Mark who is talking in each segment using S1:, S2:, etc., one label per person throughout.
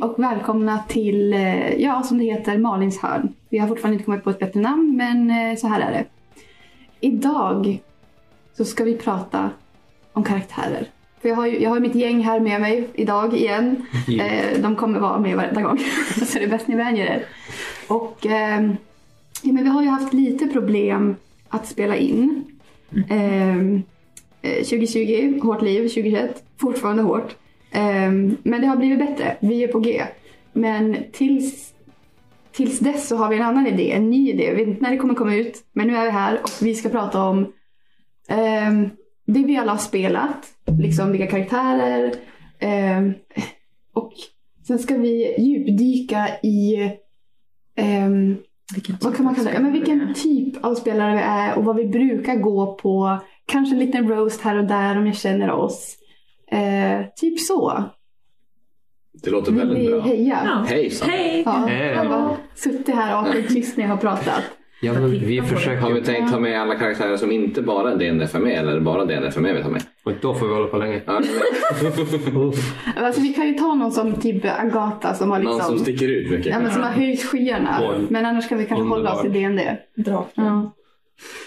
S1: och välkomna till, eh, ja som det heter, Malins hörn. Vi har fortfarande inte kommit på ett bättre namn men eh, så här är det. Idag så ska vi prata om karaktärer. För jag har ju jag har ju mitt gäng här med mig idag igen. Eh, de kommer vara med varenda gång. så det är bäst ni vänjer er. Och ehm, ja, men vi har ju haft lite problem att spela in. Ehm, eh, 2020, hårt liv. 2021, fortfarande hårt. Ehm, men det har blivit bättre. Vi är på G. Men tills, tills dess så har vi en annan idé, en ny idé. Jag vet inte när det kommer komma ut. Men nu är vi här och vi ska prata om ehm, det vi alla har spelat. Liksom vilka karaktärer. ehm, och sen ska vi djupdyka i ehm,
S2: Vilken
S1: vad kan man kalla det? Ja, men vilken typ av spelare vi är och vad vi brukar gå på. Kanske en liten roast här och där om jag känner oss. Eh, typ så.
S3: Det låter
S1: Vill
S3: väldigt
S1: ni
S3: bra.
S1: heja?
S2: Ja.
S3: Hejsan!
S2: Hej!
S1: Ja, jag har
S4: Hej.
S1: bara suttit här och varit tyst när jag har pratat.
S4: Ja, men vi försöker
S3: Har vi
S4: ju.
S3: tänkt ta med alla karaktärer som inte bara är DNF är med E eller bara DNF är med vi tar med?
S4: Och då får vi hålla på länge.
S3: Ja,
S1: Alltså, vi kan ju ta någon som typ Agata som har
S3: någon som
S1: liksom...
S3: sticker ut mycket.
S1: Ja, men som har höjt skyarna.
S4: Oj.
S1: Men annars kan vi kanske hålla oss i DND.
S2: Draken.
S1: Ja.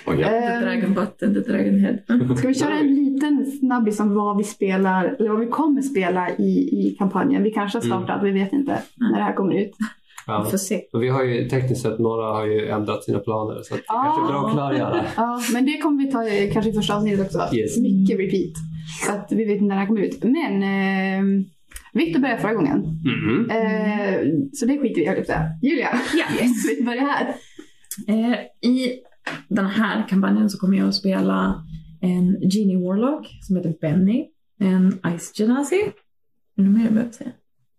S3: Oj, ja.
S2: The
S1: Ehm,
S2: Dragon Button, The Dragon Head.
S1: Ska vi köra en liten snabbis om vad vi spelar, eller vad vi kommer spela i, i kampanjen? Vi kanske har
S3: Mm.
S1: startat, vi vet inte när det här kommer ut.
S4: Ja.
S2: Vi får se.
S4: Och vi har ju tekniskt sett, några har ju ändrat sina planer så att det
S1: Ah.
S4: kanske är bra att klargöra.
S1: Ja, men det kommer vi ta eh, kanske i första avsnittet också.
S4: Yes.
S1: Mycket repeat. Så att vi vet inte när det här kommer ut. Men eh, Viktor började förra gången.
S4: Mhm.
S1: Eh, så det skiter vi i, höll jag på att säga. Julia,
S2: Ja.
S1: vi börjar här.
S2: Eh, I den här kampanjen så kommer jag att spela en Genie Warlock som heter Benny. En Ice Genasi. Är det något mer jag behöver säga?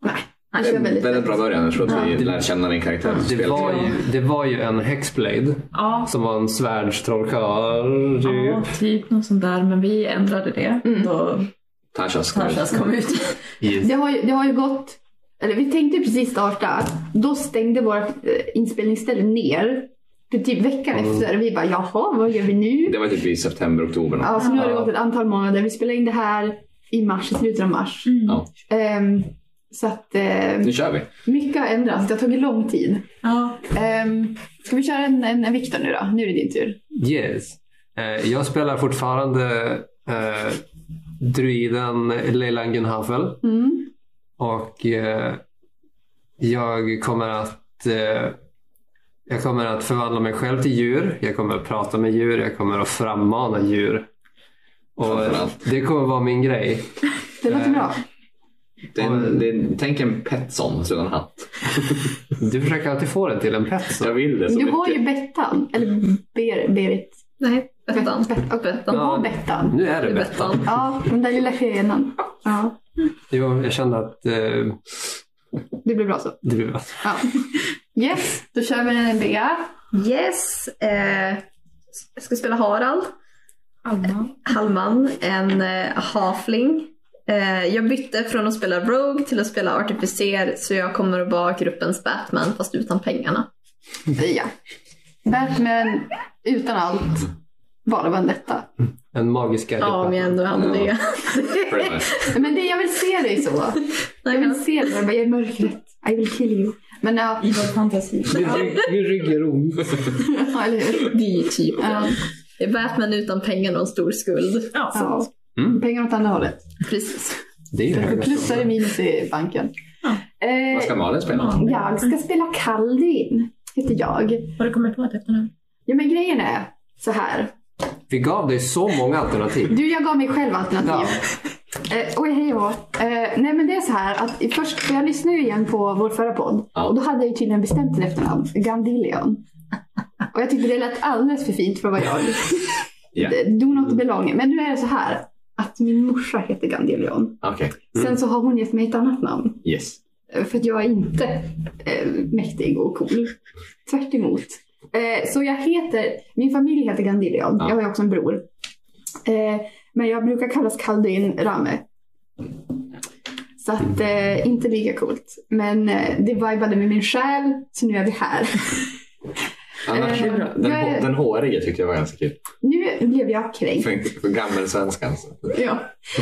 S1: Nej.
S2: Nej.
S1: Det var väldigt-
S3: Väldigt bra början. Jag tror att vi
S4: Ja.
S3: lär känna din karaktär. i
S4: Det
S3: spelet.
S4: var, ju, det var ju en Hexblade
S2: Ja,
S4: som var en svärdstrollkarl.
S2: ja,
S4: typ.
S2: typ något sånt där. Men vi ändrade det
S1: Mm.
S2: då
S3: Tashas kom ut.
S2: Tashas kom ut.
S1: Det har, ju, det har ju gått, eller vi tänkte precis starta. Då stängde vårt eh, inspelningsställe ner. För typ veckan
S4: Mm.
S1: efter. Vi bara jaha, vad gör vi nu?
S3: Det var typ i september, oktober. någon.
S1: Ja, så nu har det
S4: Ja.
S1: gått ett antal månader. Vi spelade in det här i mars, i slutet av mars.
S2: Mm.
S3: Ja.
S1: Ehm, så att eh,
S4: Mm.
S3: Nu kör vi.
S1: mycket har ändrats. Det har tagit lång tid.
S2: Ja.
S1: Ehm, ska vi köra en, en, en Viktor nu då? Nu är det din tur.
S4: Yes. Eh, jag spelar fortfarande eh, druiden Leilan Gunhafel.
S1: Mm.
S4: Och eh, jag kommer att eh, jag kommer att förvandla mig själv till djur. Jag kommer att prata med djur. Jag kommer att frammana djur. Och eh,
S3: Framförallt.
S4: det kommer vara min grej.
S1: Det låter
S4: Eh.
S1: bra.
S3: Det är en, det är, tänk en Petson sedan hatt.
S4: Du försöker alltid få det till en pet.
S3: Jag
S4: Så.
S3: vill det så
S1: Du
S3: mycket.
S1: har ju Bettan. Eller Ber, Berit.
S2: Nej,
S1: Bettan.
S2: Bettan.
S1: Bet, du
S2: Bettan.
S1: har Bettan.
S4: Nu är det Bettan.
S2: Bettan.
S1: Ja, den där lilla skenan. Ja,
S4: Jo, jag känner att eh,
S1: det blir bra så.
S4: det blir bra.
S1: Ja. Yes, då kör vi en Bea.
S5: Yes. Eh, jag ska spela Harald
S2: Alma.
S5: Hallman, en eh, hafling. Eh, jag bytte från att spela Rogue till att spela Artificer så jag kommer att vara gruppens Batman fast utan pengarna.
S1: Ja. Batman utan allt. Bara vendetta.
S4: En magisk
S5: Ja, om jag ändå hann
S3: Ja.
S5: det.
S3: Pretty much.
S1: Men det, jag vill se dig så. Jag
S5: Nej,
S1: vill
S5: men,
S1: se dig. Jag bara, Jag är mörkret. I will kill you. Men ja,
S2: I vår fantasi.
S4: Min rygg- Min rygg gör ont.
S1: ja, eller hur?
S5: det är ju typ
S1: Ja.
S5: det är Batman utan pengar och en stor skuld.
S2: Ja,
S1: Ja.
S4: Mm.
S1: Pengar åt andra hållet.
S5: Precis.
S4: Det är ju höga
S1: Plus är
S4: stolar.
S1: det minus i banken.
S2: Ja.
S3: Vad ska
S1: Eh,
S3: Malin spela?
S1: jag ska spela Kaldin, heter jag.
S2: Har du kommit på ett efternamn?
S1: Ja, men grejen är så här.
S4: Vi gav dig så många alternativ.
S1: Du, jag gav mig själv
S4: Ja.
S1: alternativ. Eh, Oj, hej och hå. eh, Nej, men det är så här att i först, för jag lyssnade ju igen på vår förra podd.
S3: Ja.
S1: Och då hade jag ju tydligen bestämt till efternamn, Gandilion. Och jag tyckte det lät alldeles för fint för att vara jag.
S3: Ja. Mm.
S1: Do not belong. Men nu är det så här att min morsa heter Gandilion.
S3: Okej.
S1: Sen så har hon gett mig ett annat namn.
S3: Yes.
S1: Eh, För att jag är inte eh, mäktig och cool. Tvärt emot. Eh, så jag heter, min familj heter Gandilion.
S3: Ja.
S1: Jag har ju också en bror. Eh, men jag brukar kallas Kaldin Rame. Så att eh, inte lika coolt. Men eh, det vibade med min själ, så nu är vi här.
S3: Annars,
S1: Eh,
S3: den,
S1: jag är-
S3: hå- den håriga tyckte jag var ganska kul.
S1: Nu blev jag kränkt.
S3: För, för gammelsvenskan.
S1: Ja.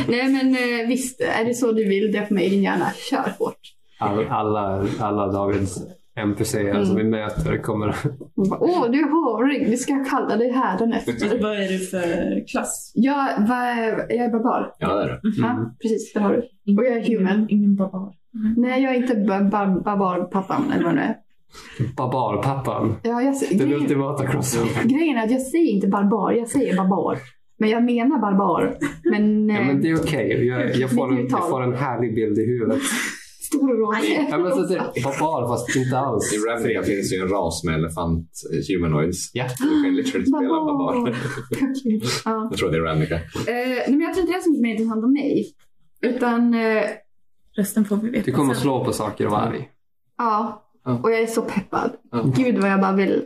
S1: Nej men eh, visst, är det så du vill döpa mig i din hjärna, kör hårt.
S4: All, alla, alla Davids NPCer som vi möter kommer...
S1: Hon bara, Åh, du är hårig. Vi ska kalla dig hädanefter.
S2: Vad är du för klass?
S1: Jag, vad är- jag är barbar.
S3: Ja, det är
S4: Mhm.
S3: det.
S1: Ja, precis. Det har du.
S2: Ingen-
S1: Och jag är human.
S2: Ingen, ingen barbar.
S4: Mm.
S1: Nej, jag är inte ba- ba- barbarpappan eller vad det nu är.
S4: Barbarpappan.
S1: Ja, jag, ser-
S4: Den
S1: grejen,
S4: ultimata crossover.
S1: grejen är att jag säger inte barbar, jag säger barbar. Men jag menar barbar. Men,
S4: Ja,
S1: eh,
S4: men det är okej. Jag, jag, får
S1: Det är
S4: en,
S1: tal.
S4: jag får en härlig bild i huvudet.
S1: stor och rolig.
S4: Ja, men så, typ, barbar fast inte alls.
S3: I Ravnica finns ju en ras med elefant eh, humanoids.
S4: Ja.
S1: Ah,
S3: Du kan literally spela
S1: Barbar.
S3: barbar.
S1: ja.
S3: Jag tror det är Ravnica.
S1: eh, nej, men jag tror inte det är så mycket mer intressant om mig. Utan, eh,
S2: Resten får vi veta
S4: Du kommer att
S2: sen.
S4: slå på saker och vara arg.
S1: ja.
S3: Ja.
S1: Och jag är så peppad.
S3: Ja.
S1: Gud vad jag bara vill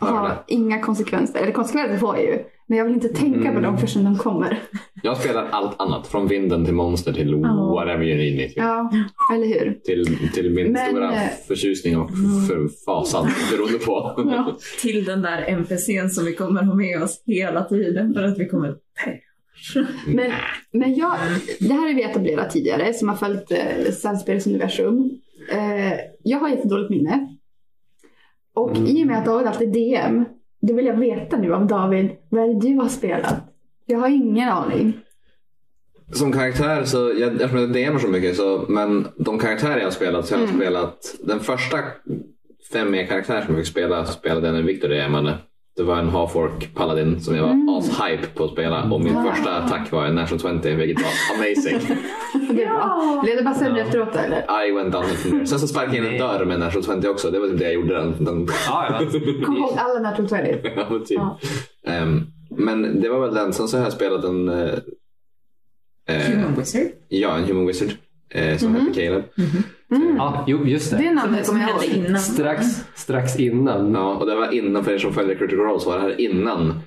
S3: Ja,
S1: ha
S3: det.
S1: inga konsekvenser. Eller konsekvenser får jag ju. Men jag vill inte tänka på dem
S4: Mm.
S1: förrän de kommer.
S3: Jag spelar allt annat. Från vinden till monster till
S2: Ja.
S3: whatever you need me to.
S1: Ja, eller hur?
S3: Till, till min
S1: Men,
S3: stora
S1: eh, mm.
S3: förtjusning och förfasan beroende på.
S1: Ja.
S2: Till den där NPCn som vi kommer ha med oss hela tiden för att vi kommer...
S1: Men, men jag, det här har vi etablerat tidigare som har följt eh, Samspelets universum. Eh, jag har jättedåligt minne. Och
S4: Mm.
S1: i och med att David alltid DM, då vill jag veta nu av David, vad är det du har spelat? Jag har ingen aning.
S3: Som karaktär så, jag, eftersom jag inte DMar så mycket, så, men de karaktärer jag har spelat så jag har
S1: Mm.
S3: spelat den första fem karaktär som jag fick spela spelade jag när Victor DMade. Det var en half-orc paladin som jag var
S1: Mm.
S3: as-hype på att spela och min
S1: Ah.
S3: första attack var en natural 20 vilket var amazing.
S1: Och det är bra. Blev det bara sämre
S4: Ja.
S1: efteråt eller?
S3: I went down from there. Sen så sparkade jag in en dörr med en natural 20 också. Det var typ det jag gjorde. Den, den,
S4: Ja,
S1: Kom ihåg alla natural 20.
S3: ja, men typ.
S1: Ja.
S3: Ehm, men det var väl den. Sen så har jag spelat en eh, eh,
S2: Human wizard.
S3: Ja, en human wizard. Eh, som
S1: Mhm.
S3: hette Caleb.
S1: Mm.
S4: ja, jo, just
S1: Det
S4: det.
S1: namnet kommer jag
S2: hände
S1: ihåg.
S2: innan.
S4: Strax, strax innan.
S3: Ja, och det var innan, för er som följer Critical Role så var det här innan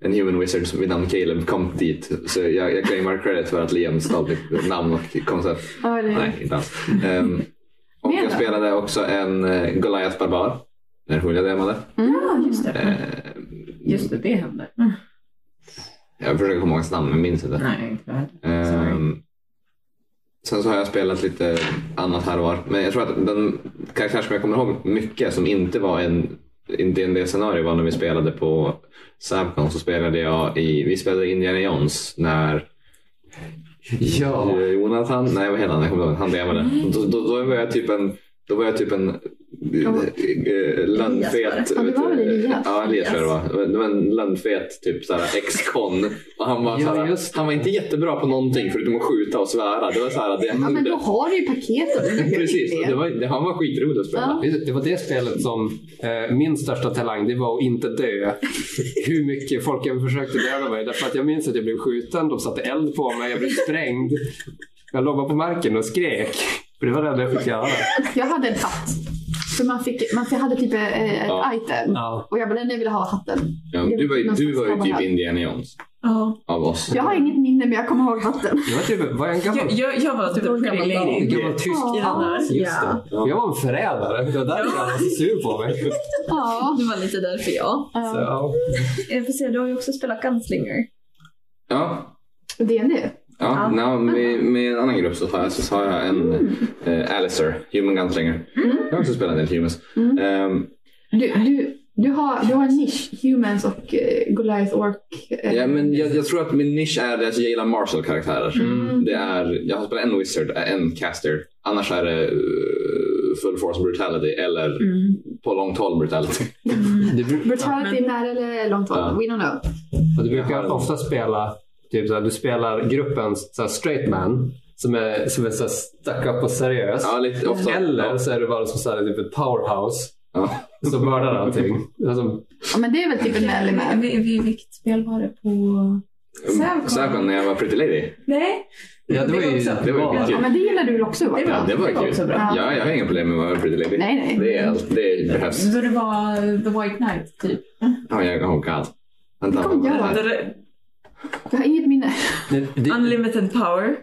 S3: en human wizard som vid namn Caleb kom dit. Så jag, jag claimar credit för att Liam stal mitt namn och koncept.
S1: Ja, eller hur?
S3: Nej, inte alls. Ehm, och
S1: Mer
S3: jag
S1: då?
S3: spelade också en eh, Goliath Barbar. När Julia demade.
S2: Ja, just det.
S3: Eh,
S2: Just det, det hände.
S3: jag försöker komma ihåg hans namn men minns inte.
S2: Nej, inte jag
S3: Ehm, sen så har jag spelat lite annat här och var. Men jag tror att den karaktär som jag kommer ihåg mycket som inte var en en dd scenario var när vi spelade på Sabcon så spelade jag i, vi spelade Indiana Jones när
S4: Ja.
S3: eh, Jonathan, nej vad heter han, jag kommer inte ihåg, han DMade. Då, då, då var jag typ en, då var jag typ en
S1: Mm. Ja.
S3: äh, lönnfet.
S1: Ja, det var väl Elias.
S3: Ja, Elias tror jag det var. Det var en lönnfet typ såhär ex-con. Och han var,
S4: Ja,
S3: såhär,
S4: just
S3: han var inte jättebra på någonting förutom att skjuta och svära. Det var såhär, det
S1: Ja,
S3: han
S1: men då
S3: gjorde.
S1: har du ju paketet.
S3: Precis, det var, det, han var skitrolig att spela.
S1: Ja.
S4: Det var det spelet som eh, min största talang, det var att inte dö. Hur mycket folk jag försökte döda mig. Därför att jag minns att jag blev skjuten, de satte eld på mig, jag blev sprängd. Jag låg bara på marken och skrek. För det var det enda jag fick göra.
S1: Jag hade en hatt. För man, fick, man hade typ eh, ett
S3: Ja.
S1: item.
S4: Ja.
S1: Och jag bara, nej jag vill ha hatten.
S3: Ja, du var ju, du var ju typ Indiana Jones
S2: Ja.
S3: av oss.
S1: Jag har inget minne men jag kommer ihåg hatten.
S4: Jag var, typ, var jag en gammal,
S2: Jag, jag, jag var typ
S5: Du var
S2: en pretty
S5: gammal
S2: lady.
S4: en gammal tysk?
S2: I den där.
S4: Just det. Jag var en förrädare. Det var därför han var så sur på mig.
S1: Ja.
S5: Det var lite därför jag.
S4: Så,
S1: ja.
S4: ja.
S5: Jag får se, du har ju också spelat Gunslinger.
S3: Ja,
S1: Det är det.
S3: Ja, nej, med, med en annan grupp så har jag, så har jag en eh, Alistair, Human Gunslinger. Jag har också spelat en del Humans.
S1: Mm.
S3: Ehm,
S1: Du, du, du, har, du har en nisch. Humans och eh, Goliath Ork. eh,
S3: ja, men jag, jag tror att min nisch är det att jag gillar Marshall-karaktärer.
S1: Mm.
S3: Det är, jag har spelat en Wizard, eh, en Caster. Annars är det eh, Full Force Brutality eller
S2: Mm.
S3: på långt håll Brutality.
S4: Du, bru-
S1: Brutality nära eller långt håll?
S3: Ja.
S1: We don't know.
S4: Och du brukar ofta spela, typ såhär, du spelar gruppens såhär, straight man som är, som är såhär, stuck up och seriös.
S3: Ja, lite ofta.
S4: Eller så är du bara som såhär, typ ett powerhouse
S3: Ja.
S4: som mördar allting. Alltså,
S1: Ja, men det är väl typ en manly man.
S2: Vi- vi- Vilket spel var det på... Sävcon.
S3: Sävcon Mm. när jag var Pretty Lady.
S2: Nej,
S4: ja, det var ju
S2: också-
S3: det var ju kul.
S1: Ja, men det gillar du väl också
S2: det
S1: Johan?
S2: var,
S3: Ja, det var
S2: det var
S3: kul.
S2: också bra.
S1: Ja.
S3: Ja, jag har inga problem med att vara Pretty Lady.
S1: Nej, nej.
S3: Det, är allt, det behövs.
S2: Så det var The White Knight, typ.
S3: Oh, jag, oh god. Vänta,
S1: Det kommer
S3: vad var
S1: göra.
S3: det?
S1: Jag har inget minne.
S4: Det, det,
S2: Unlimited power.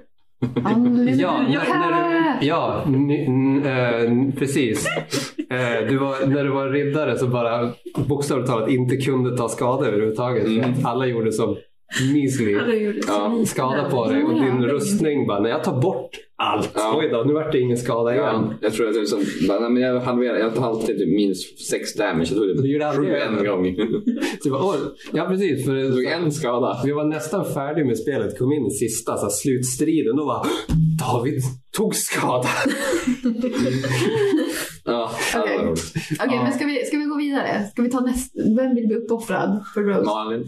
S1: Unlimited
S4: Ja, när, när du, ja n, n, eh, precis. Eh, du var, när du var riddare så bara bokstavligt talat inte kunde ta skada överhuvudtaget.
S3: Mm.
S4: Alla gjorde som measly
S2: Alla gjorde så
S3: Ja.
S2: lite.
S4: skada på dig och din rustning bara, när jag tar bort allt.
S3: Ja.
S4: Oj då, nu vart det ingen skada
S3: Ja,
S4: igen.
S3: jag tror att det är som, bara, nej, men jag halverade, jag hade alltid typ minus sex damage. Jag tog
S4: Du
S3: typ
S4: gjorde aldrig
S3: sju
S4: det?
S3: en gång.
S4: Så jag bara, oj. Ja precis, för
S3: Jag tog
S4: det,
S3: en skada.
S4: vi var nästan färdiga med spelet, kom in i sista så här, slutstriden. Då bara, David tog skada.
S3: Ja, det
S1: Okej.
S3: var roligt.
S1: Okej, men ska vi, ska vi gå vidare? Ska vi ta nästa? Vem vill bli uppoffrad för Rose?
S3: Malin,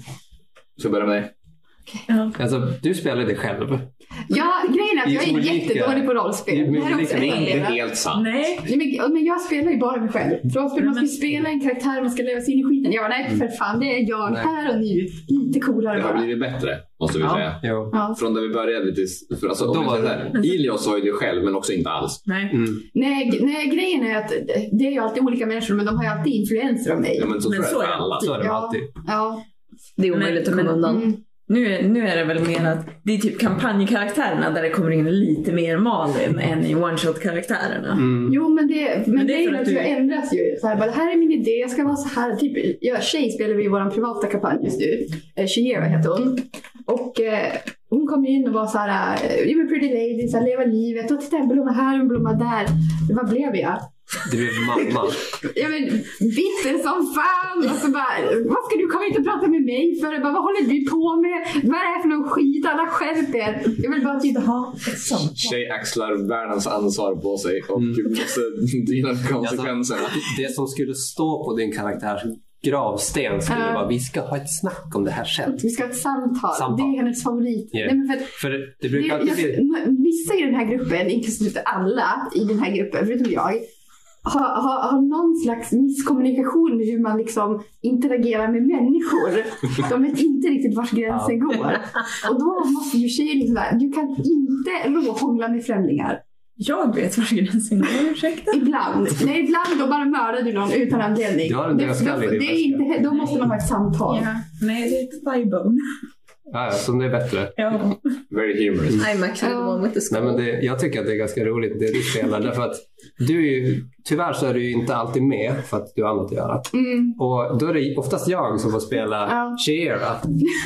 S3: ska jag börja med dig?
S2: Ja.
S4: Alltså, du spelade det själv.
S1: Ja, grejen är att
S4: Det är
S1: jag
S4: som
S1: är
S4: olika.
S1: jättedålig på rollspel.
S4: Det
S1: Det
S4: är
S1: här är också
S4: olika.
S1: en del.
S3: helt sant.
S2: Nej.
S1: Nej, men, ja, men jag spelar ju bara mig själv.
S2: Mm.
S1: För rollspel, man ska ju spela en karaktär, man ska leva sig in i skiten. Jag bara, nej för fan, det är jag
S4: Nej.
S1: här och nu. Lite coolare
S3: Det har
S1: bara.
S3: blivit bättre, måste vi
S2: Ja.
S3: säga.
S4: Jo.
S1: Ja.
S3: Från där vi började till... För alltså,
S4: Då
S3: om vi
S4: var
S3: säger
S4: det-
S3: så här, Ilios sa ju det själv, men också inte alls.
S2: Nej.
S4: Mm.
S1: Nej, g- nej, grejen är att det är ju alltid olika människor, men de har ju alltid influenser av mig.
S3: Ja, men så
S2: Men
S3: tror
S2: så
S3: jag
S2: är
S3: att
S2: det.
S3: alla.
S4: Så är det
S1: Ja.
S4: alltid.
S1: Ja.
S5: Det är omöjligt
S2: Men-
S5: att komma
S2: men-
S5: undan.
S1: Mm.
S2: Nu, är- nu är det väl mer att det är typ kampanjkaraktärerna där det kommer in lite mer Malin än i one-shot-karaktärerna.
S4: Mm.
S1: Jo, men det, men
S2: Men
S1: det
S2: det är
S1: är ju
S2: för att
S1: att
S2: du-
S1: jag ändras ju. Så här, bara, det här är min idé, jag ska vara så här. Typ, jag, tjej spelar vi i vår privata kampanj just nu. Eh, Shiera heter hon. Och eh, hon kom ju in och var så här, eh, "You were pretty lady, så här, leva livet. Och titta en blomma här och en blomma där. Vad blev jag?
S4: Du är mamma.
S1: Jag men, bitter som fan! Och så bara, vad ska du komma hit och prata med mig för? Jag Bara, vad håller du på med? Vad är det här för någon skit? Alla skärp er! Jag vill bara typ
S2: Jaha, ett sånt.
S3: Tjej axlar världens ansvar på sig och
S4: Mm.
S3: måste dina konsekvenser.
S4: Det som skulle stå på din karaktärs gravsten skulle
S1: Ja.
S4: vara vi ska ha ett snack om det här sen.
S1: vi ska ha ett samtal.
S4: Samtal.
S1: Det är hennes favorit.
S4: Yeah.
S1: Nej, men för att
S4: För det
S1: Det,
S4: brukar
S1: jag,
S4: alltid bli...
S1: vissa i den här gruppen, inklusive alla i den här gruppen, förutom jag, har, har, har någon slags misskommunikation med hur man liksom interagerar med människor. De vet inte riktigt vars gränsen går. Och då måste ju tjejer liksom där, du kan inte råhångla med främlingar.
S2: Jag vet var gränsen går, ursäkta.
S1: Ibland. Nej, ibland då bara mördar du någon utan anledning.
S4: Du har en
S1: Det-
S4: dödskalle i
S1: då-
S4: din
S1: det är
S4: väska.
S1: inte, Då måste man ha ett samtal.
S2: Ja. Nej, det är ett thigh-bone.
S4: Ja, ja, som det är bättre.
S2: Ja.
S3: Very humorous.
S5: I'm actually the one with the
S4: Nej,
S5: skull.
S4: men det, jag tycker att det är ganska roligt det du spelar. därför att du är ju, tyvärr så är du ju inte alltid med för att du har annat att göra.
S1: Mm.
S4: Och då är det oftast jag som får spela
S1: Ja.
S4: Cheera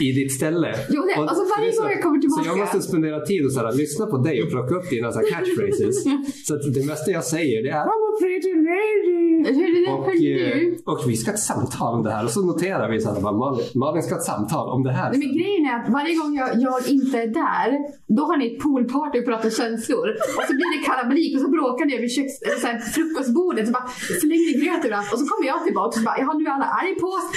S4: i ditt ställe.
S1: Jo, det,
S4: Och-
S1: alltså varje
S4: så-
S1: gång jag kommer tillbaka.
S4: Så jag måste spendera tid och så här, lyssna på dig och plocka upp dina så här catchphrases. så att det mesta jag säger det är I'm a pretty lady.
S1: Hur
S4: Och,
S1: höll du?
S4: eh, och vi ska ha ett samtal om det här. Och så noterar vi så här, bara, Malin, Malin ska ha ett samtal om det här.
S1: Nej, men grejen är att varje gång jag, jag inte är där, då har ni ett poolparty och pratar känslor. Och så blir det kalabalik och så bråkar ni över köks, eller så här, frukostbordet och bara slänger ni gröt överallt. Och så kommer jag tillbaka och så bara, jaha nu är alla arg på oss.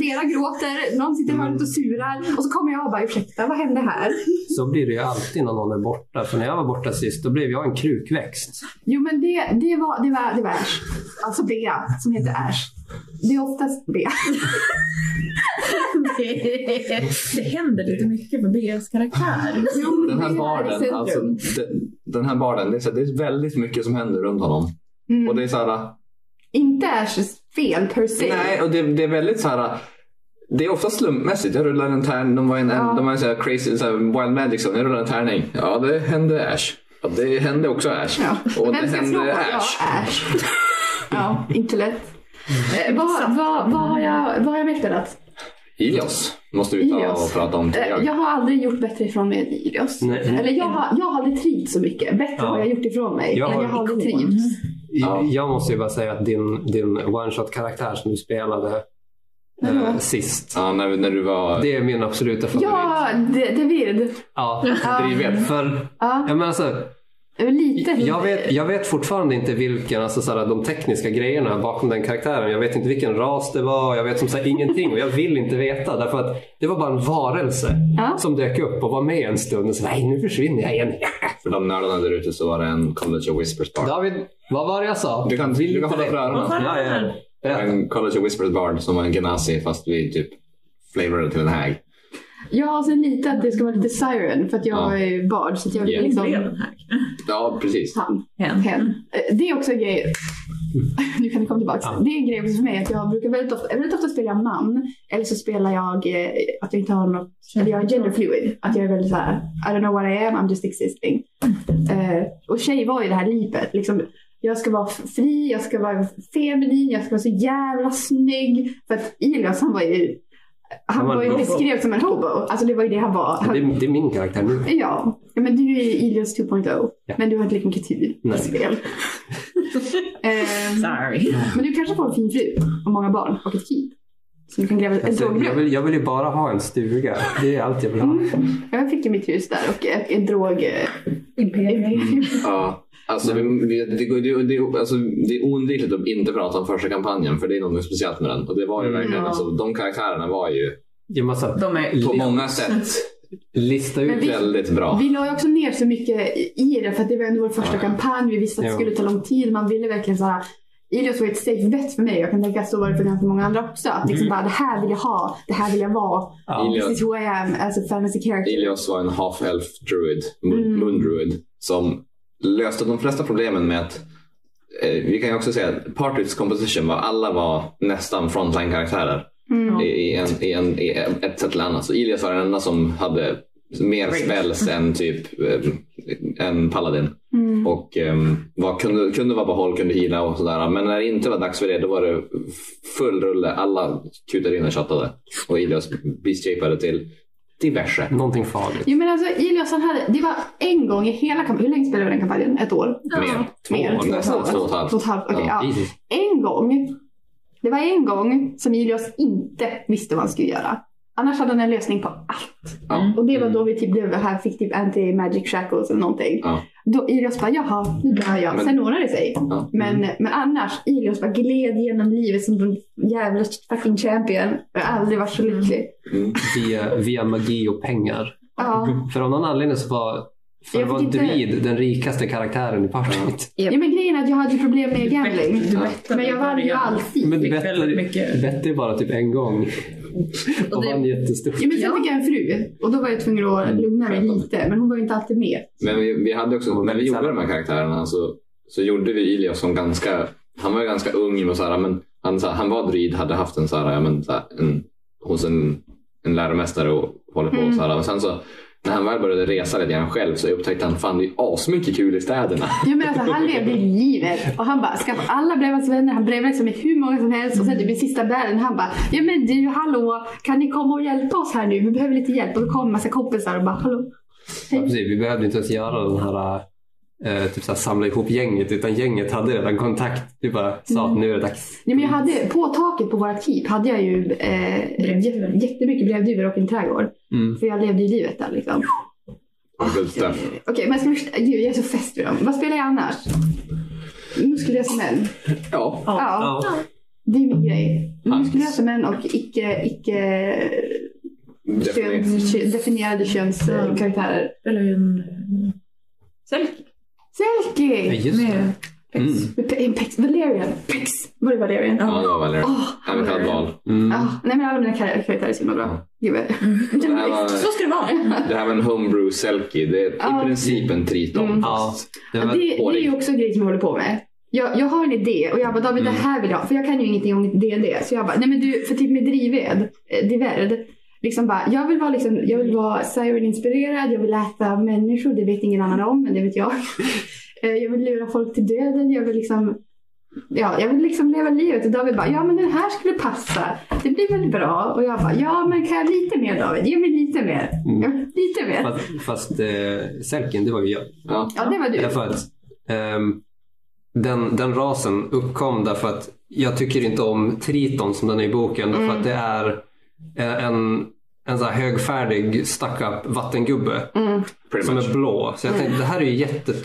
S1: Flera gråter, någon sitter i hörnet och surar. Och så kommer jag och bara, ursäkta vad hände här?
S4: Så blir det ju alltid när någon är borta. För när jag var borta sist, då blev jag en krukväxt.
S1: Jo men det, det var, det var, det var Ash. Alltså Bea, som heter Ash. Det är oftast Bea.
S5: det...
S2: Det händer lite mycket med BS karaktär.
S1: Jo, men
S3: Den
S1: Bea
S3: här
S1: är i
S3: barden,
S1: centrum.
S3: alltså, den, den här barden, det är, så, det är väldigt mycket som händer runt honom.
S1: Mm.
S3: Och det är så här,
S1: Inte Ashs fel per se.
S3: nej, och det, det är väldigt så här. Det är ofta slumpmässigt. Jag rullar en tärning, de var en,
S1: Ja.
S3: de var en så här crazy, så här wild magic, zone. jag rullar en tärning. Ja, det hände Ash. Ja, det hände också Ash.
S1: Ja.
S3: Och
S1: Vem
S3: det
S1: ska jag slå på?
S3: hände
S1: Ash.
S3: Ash.
S1: Ja, Ash. ja, inte lätt. Eh, vad, vad, vad har jag, vad har jag mer spelat?
S3: Ilios måste vi ta
S1: Ilios.
S3: och prata om.
S1: Eh,
S3: tycker jag.
S1: jag har aldrig gjort bättre ifrån mig än Ilios.
S4: Nej.
S1: Eller jag har, jag har aldrig trivts så mycket. Bättre
S4: Mm. Ja.
S1: har jag gjort ifrån mig.
S4: Jag
S1: men
S4: har
S1: jag har aldrig
S2: ikon.
S1: trivts.
S3: Ja.
S4: Jag måste ju bara säga att din, din one-shot-karaktär som du spelade eh,
S1: Mhm.
S4: sist.
S3: Ja, när, när du var
S4: Det är min absoluta favorit.
S1: Ja, D- David.
S4: Ja.
S3: drivet.
S4: För,
S1: Ja,
S4: ja, men alltså,
S1: lite.
S4: jag, vet, jag vet fortfarande inte vilken, alltså, så här, de tekniska grejerna bakom den karaktären. Jag vet inte vilken ras det var och jag vet som sagt ingenting. Och jag vill inte veta därför att det var bara en varelse
S1: Ja.
S4: som dök upp och var med en stund. Och så, Nej, nu försvinner jag igen.
S3: För de nördarna där ute så var det en College of Whispers bar.
S4: David, vad var det jag sa?
S3: Du kan, du kan hålla för
S2: Vad
S3: öronen.
S2: fan
S4: Ja,
S2: är det
S4: ja, ja.
S2: här?
S4: Berätta.
S3: En College of Whispers bar som var en genasi fast vi typ flavorade till en hag.
S1: Ja, och sen lite att det ska vara lite siren för att jag
S3: Ja.
S1: är bard. Så att jag vill
S3: Yeah.
S2: Det blev
S1: liksom...
S2: den här.
S3: Ja, precis.
S1: Han,
S2: Hen.
S1: hen. Eh, Det är också en grej. Nu kan ni komma tillbaka.
S4: Ja.
S1: Det är en grej också för mig att jag brukar väldigt ofta, väldigt ofta spela man. Eller så spelar jag eh, att jag inte har något Eller jag är genderfluid. Att jag är väldigt såhär, I don't know what I am, I'm just existing. Eh, och tjej var ju det här lipet. Liksom, jag ska vara f- fri, jag ska vara feminin, jag ska vara så jävla snygg. För att Ilias han var ju Han
S4: Han var
S1: var ju
S4: en hobo.
S1: beskrev som en hobo. Alltså det var ju det han var.
S4: Det,
S1: Han,
S4: är- det är min karaktär nu.
S1: ja. ja, men du är ju Ilias 2.0.
S4: Ja.
S1: Men du har inte lika mycket tid i
S4: Nej.
S1: spel. Ehm,
S2: Sorry.
S1: men du kanske får en fin fru och många barn och ett kid. Som du kan gräva ett
S4: Alltså, jag,
S1: drogbrunn.
S4: vill, jag vill ju bara ha en stuga. Det är allt jag vill
S1: Mm.
S4: ha.
S1: Jag fick ju mitt hus där och ett, ett drog... eh, Mm.
S2: Imperium.
S3: Ja, alltså, vi, vi, det, går- det, det, alltså det är oundvikligt att inte prata om första kampanjen för det är något speciellt med den. Och det var ju
S4: Mm.
S3: verkligen,
S1: Ja.
S3: alltså, de karaktärerna var ju
S4: Jag måste
S2: De är...
S3: på
S4: li-
S3: många sätt
S4: lista
S1: Men
S4: ut.
S1: vi-
S3: väldigt bra.
S1: Vi la ju också ner så mycket i- i det för att det var ändå vår första
S3: Ja.
S1: kampanj. Vi visste att det
S4: Jo.
S1: skulle ta lång tid. Man ville verkligen såhär. Ilios var ett safe bet för mig. Jag kan tänka att så var det för ganska många andra också. Att liksom
S4: Mm.
S1: bara det här vill jag ha. Det här vill jag vara.
S4: Ja.
S3: Ilias,
S1: This is who I am as a fantasy character.
S3: Ilios var en half-elf druid, mun-
S1: Mm.
S3: mundruid, som löste de flesta problemen med att eh, vi kan ju också säga att Partridge composition var alla var nästan frontline-karaktärer
S1: Mm.
S3: i, i, en, i, en, i ett sätt eller annat. Så Ilias var den enda som hade mer
S2: Right.
S3: spells än typ eh, en paladin.
S1: Mm.
S3: Och ehm, var, kunde, kunde vara på håll, kunde hila och sådär. Men när det inte var dags för det, då var det full rulle. Alla kutade in och tjatade. Och Ilios beastjapade till diverse.
S4: Någonting farligt.
S1: Jo men alltså Ilios han hade, det var en gång i hela kampanjen. Hur länge spelade vi den kampanjen? Ett år?
S3: Mer. Två,
S1: Mer?
S3: nästan
S1: år?
S3: två och ett halvt.
S1: Två och ett halvt, okej.
S3: Ja.
S1: ja.
S4: Jesus.
S1: en gång. Det var en gång som Ilios inte visste vad han skulle göra. Annars hade han en lösning på allt.
S3: Ja. Mm.
S1: Och det var då vi typ blev här, fick typ anti-magic shackles eller någonting.
S3: Ja.
S1: Då Ilios bara, jaha, nu dör jag.
S3: Men-
S1: Sen ordnar det sig.
S3: Ja. Mm.
S1: Men, men annars, Ilios bara gled genom livet som en jävla fucking champion. Jag har aldrig varit så lycklig.
S3: Mm.
S4: Via, via magi och pengar.
S1: Ja.
S4: För av någon anledning så var, för
S1: Jag
S4: var
S1: fick inte-
S4: druid den rikaste karaktären i partiet.
S1: ja, men grejen är att jag hade ju problem med gambling.
S2: Du
S3: Ja.
S2: berättade
S1: Men jag vann ju alltid.
S4: Men
S2: Fick
S4: Betty
S2: väldigt mycket.
S4: Betty bara typ en gång.
S5: Och
S4: Och
S5: det-
S4: vann jättestort.
S1: Ja, men sen
S5: Ja.
S1: fick jag en fru och då var jag tvungen att lugna mig lite. Men hon var ju inte alltid med.
S3: Men vi, vi hade också,
S4: Mm.
S3: när vi gjorde de här karaktärerna så, så gjorde vi Ilias som ganska, han var ju ganska ung och så här, men han, så här, han var druid, hade haft en så här, ja, men, så här en, hos en, en läromästare och håller på
S1: Mm.
S3: och så här. Men sen så när han väl började resa lite grann själv så upptäckte han fan det är asmycket kul i städerna.
S1: Jag menar alltså, han levde livet och han bara skaffa alla Brevas vänner. Han brevade liksom med hur många som helst och sen typ i sista världen han bara ja men du hallå kan ni komma och hjälpa oss här nu? Vi behöver lite hjälp och då kom en massa kompisar och bara hallå.
S4: Ja, precis. Vi behövde inte ens göra den här eh, typ så här, samla ihop gänget utan gänget hade redan kontakt. Du bara sa att nu är det dags.
S1: Nej, men jag hade, på taket på vårt keep hade jag ju eh,
S2: Brevduvor.
S1: jättemycket brevduvor och en trädgård.
S4: Mm.
S1: För jag levde ju livet där liksom.
S3: Och good
S1: Eh,
S3: stuff.
S1: Okej men jag, ska, gud, jag är så fäst vid dem. Vad spelar jag annars? Muskulösa
S3: Ja,
S1: Ja.
S4: Ja.
S1: Det är min
S2: Mm.
S1: grej.
S3: Hans.
S1: Muskulösa män och icke, icke
S3: definitivt.
S1: köns, kö- definierade
S2: Mm.
S1: könskaraktärer.
S2: Eller en... eh, Selkie.
S4: Ja,
S1: Selkie!
S4: just det.
S2: Med
S4: Mm.
S1: Med pe- en Pex. Valerian. Pex. Var det Valerian?
S2: Ja.
S1: Ja.
S3: Ja, det var Valerie.
S1: Oh,
S3: Han hade ett val.
S4: Mm.
S1: nej men alla mina kar- karaktärer är så himla bra. Gud vad...
S2: Mm.
S3: Det här var,
S2: Så ska det vara.
S3: det här var en homebrew selkie. Det är
S1: Ja.
S3: i princip en triton.
S1: Mm.
S4: Ja. Det
S1: Det,
S4: var,
S1: det är ju också en grej som jag håller på med. Jag, jag har en idé och jag bara David det
S4: Mm.
S1: här vill jag ha. För jag kan ju ingenting om D&D. Så jag bara, nej men du, för typ med drivved, eh, divärd. Liksom bara, jag vill vara liksom, jag vill vara siren-inspirerad, jag vill äta människor, det vet ingen annan om men det vet jag. Eh, jag vill lura folk till döden, jag vill liksom Ja, jag vill liksom leva livet och David bara, ja men den här skulle passa. Det blir väl bra? Och jag bara, ja men kan jag lite mer David? Ge mig lite mer.
S4: Mm.
S1: Ja, lite mer.
S4: fast fast eh, Selkin, det var ju jag.
S3: Ja.
S1: Ja, det var du.
S4: Därför att ehm, den, den rasen uppkom därför att jag tycker inte om Triton som den är i boken. Därför
S1: Mm.
S4: att det är eh, en, en så här högfärdig stack-up vattengubbe
S1: Mm.
S3: Pretty
S4: som
S3: much.
S4: är blå. Så jag tänkte det här är ju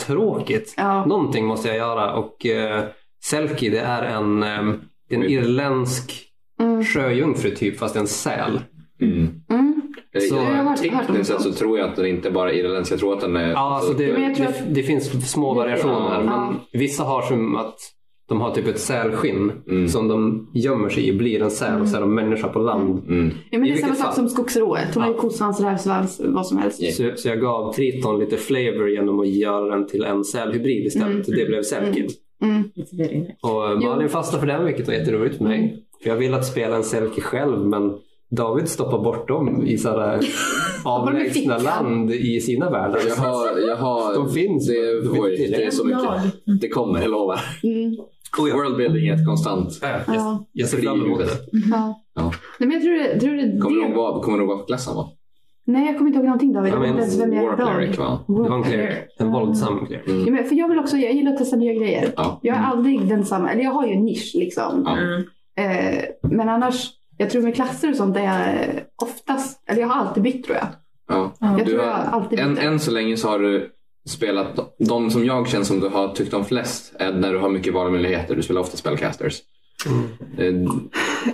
S4: jättetråkigt.
S1: Ja.
S4: Någonting måste jag göra och eh, Selkie det är en, ehm, en
S3: Mm.
S4: irländsk
S1: Mm.
S4: sjöjungfru typ fast en säl.
S3: Mm.
S1: Mm.
S4: Så- Jag har
S1: hört- hört om det.
S3: tekniskt sett så tror jag att den inte bara är irländsk. Jag tror att den är...
S4: Ja, alltså det,
S1: Men jag tror
S4: det,
S1: att-
S4: det finns små variationer.
S3: Ja.
S4: Men vissa har som att de har typ ett sälskinn
S3: Mm.
S4: som de gömmer sig i, blir en säl och så är de människa på land.
S3: Mm.
S1: Ja, men
S4: I
S1: det är samma sak
S4: vilket fall?
S1: som skogsrået. Hon har ju
S4: Ja.
S1: kosvans, rävsvans, vad som helst.
S3: Ja.
S4: Så, så jag gav Triton lite flavor genom att göra den till en sälhybrid istället.
S1: Mm.
S4: Och det blev Selkin.
S1: Mm.
S2: It's very nice.
S4: Och eh,
S1: Jo. Mm.
S4: Malin fastnade för den vilket var jätteroligt för mig. För jag ville att spela en Selkie själv men David stoppar bort dem i sådana avlägsna
S1: fickan.
S4: land i sina världar.
S3: Jag har, jag har...
S4: De finns. De
S3: Det,
S4: finns
S3: oj, det är så mycket.
S2: Jag.
S3: Det kommer, jag lovar.
S1: Mm.
S4: Oh, ja.
S3: Worldbuilding är ett konstant.
S4: Ja, ja.
S1: Ja.
S4: Jag ser fram emot det.
S1: ja.
S3: Ja.
S1: Nej, men jag tror det, tror det,
S3: Kommer du
S1: det...
S3: ihåg vad- kommer du ihåg vad klassen var?
S1: Nej, jag kommer inte ihåg någonting David. Jag vet inte ens vem jag är
S3: War
S1: idag.
S3: cleric va?
S4: Det
S1: War
S4: var en cleric. En våldsam cleric.
S1: Ja, men för jag vill också, jag gillar att testa nya grejer.
S3: Ja. Mm.
S1: Jag är aldrig densamma, eller jag har ju en nisch liksom.
S3: Ja.
S2: Mm.
S1: Eh, men annars, jag tror med klasser och sånt är jag oftast, eller jag har alltid bytt tror jag.
S3: Ja.
S1: Jag
S3: Du
S1: tror jag
S3: har-
S1: alltid
S3: Än,
S1: byter.
S3: än så länge så har du spelat, de som jag känner som du har tyckt om flest är när du har mycket valmöjligheter. Du spelar ofta spellcasters.
S4: Mm.
S3: Eh,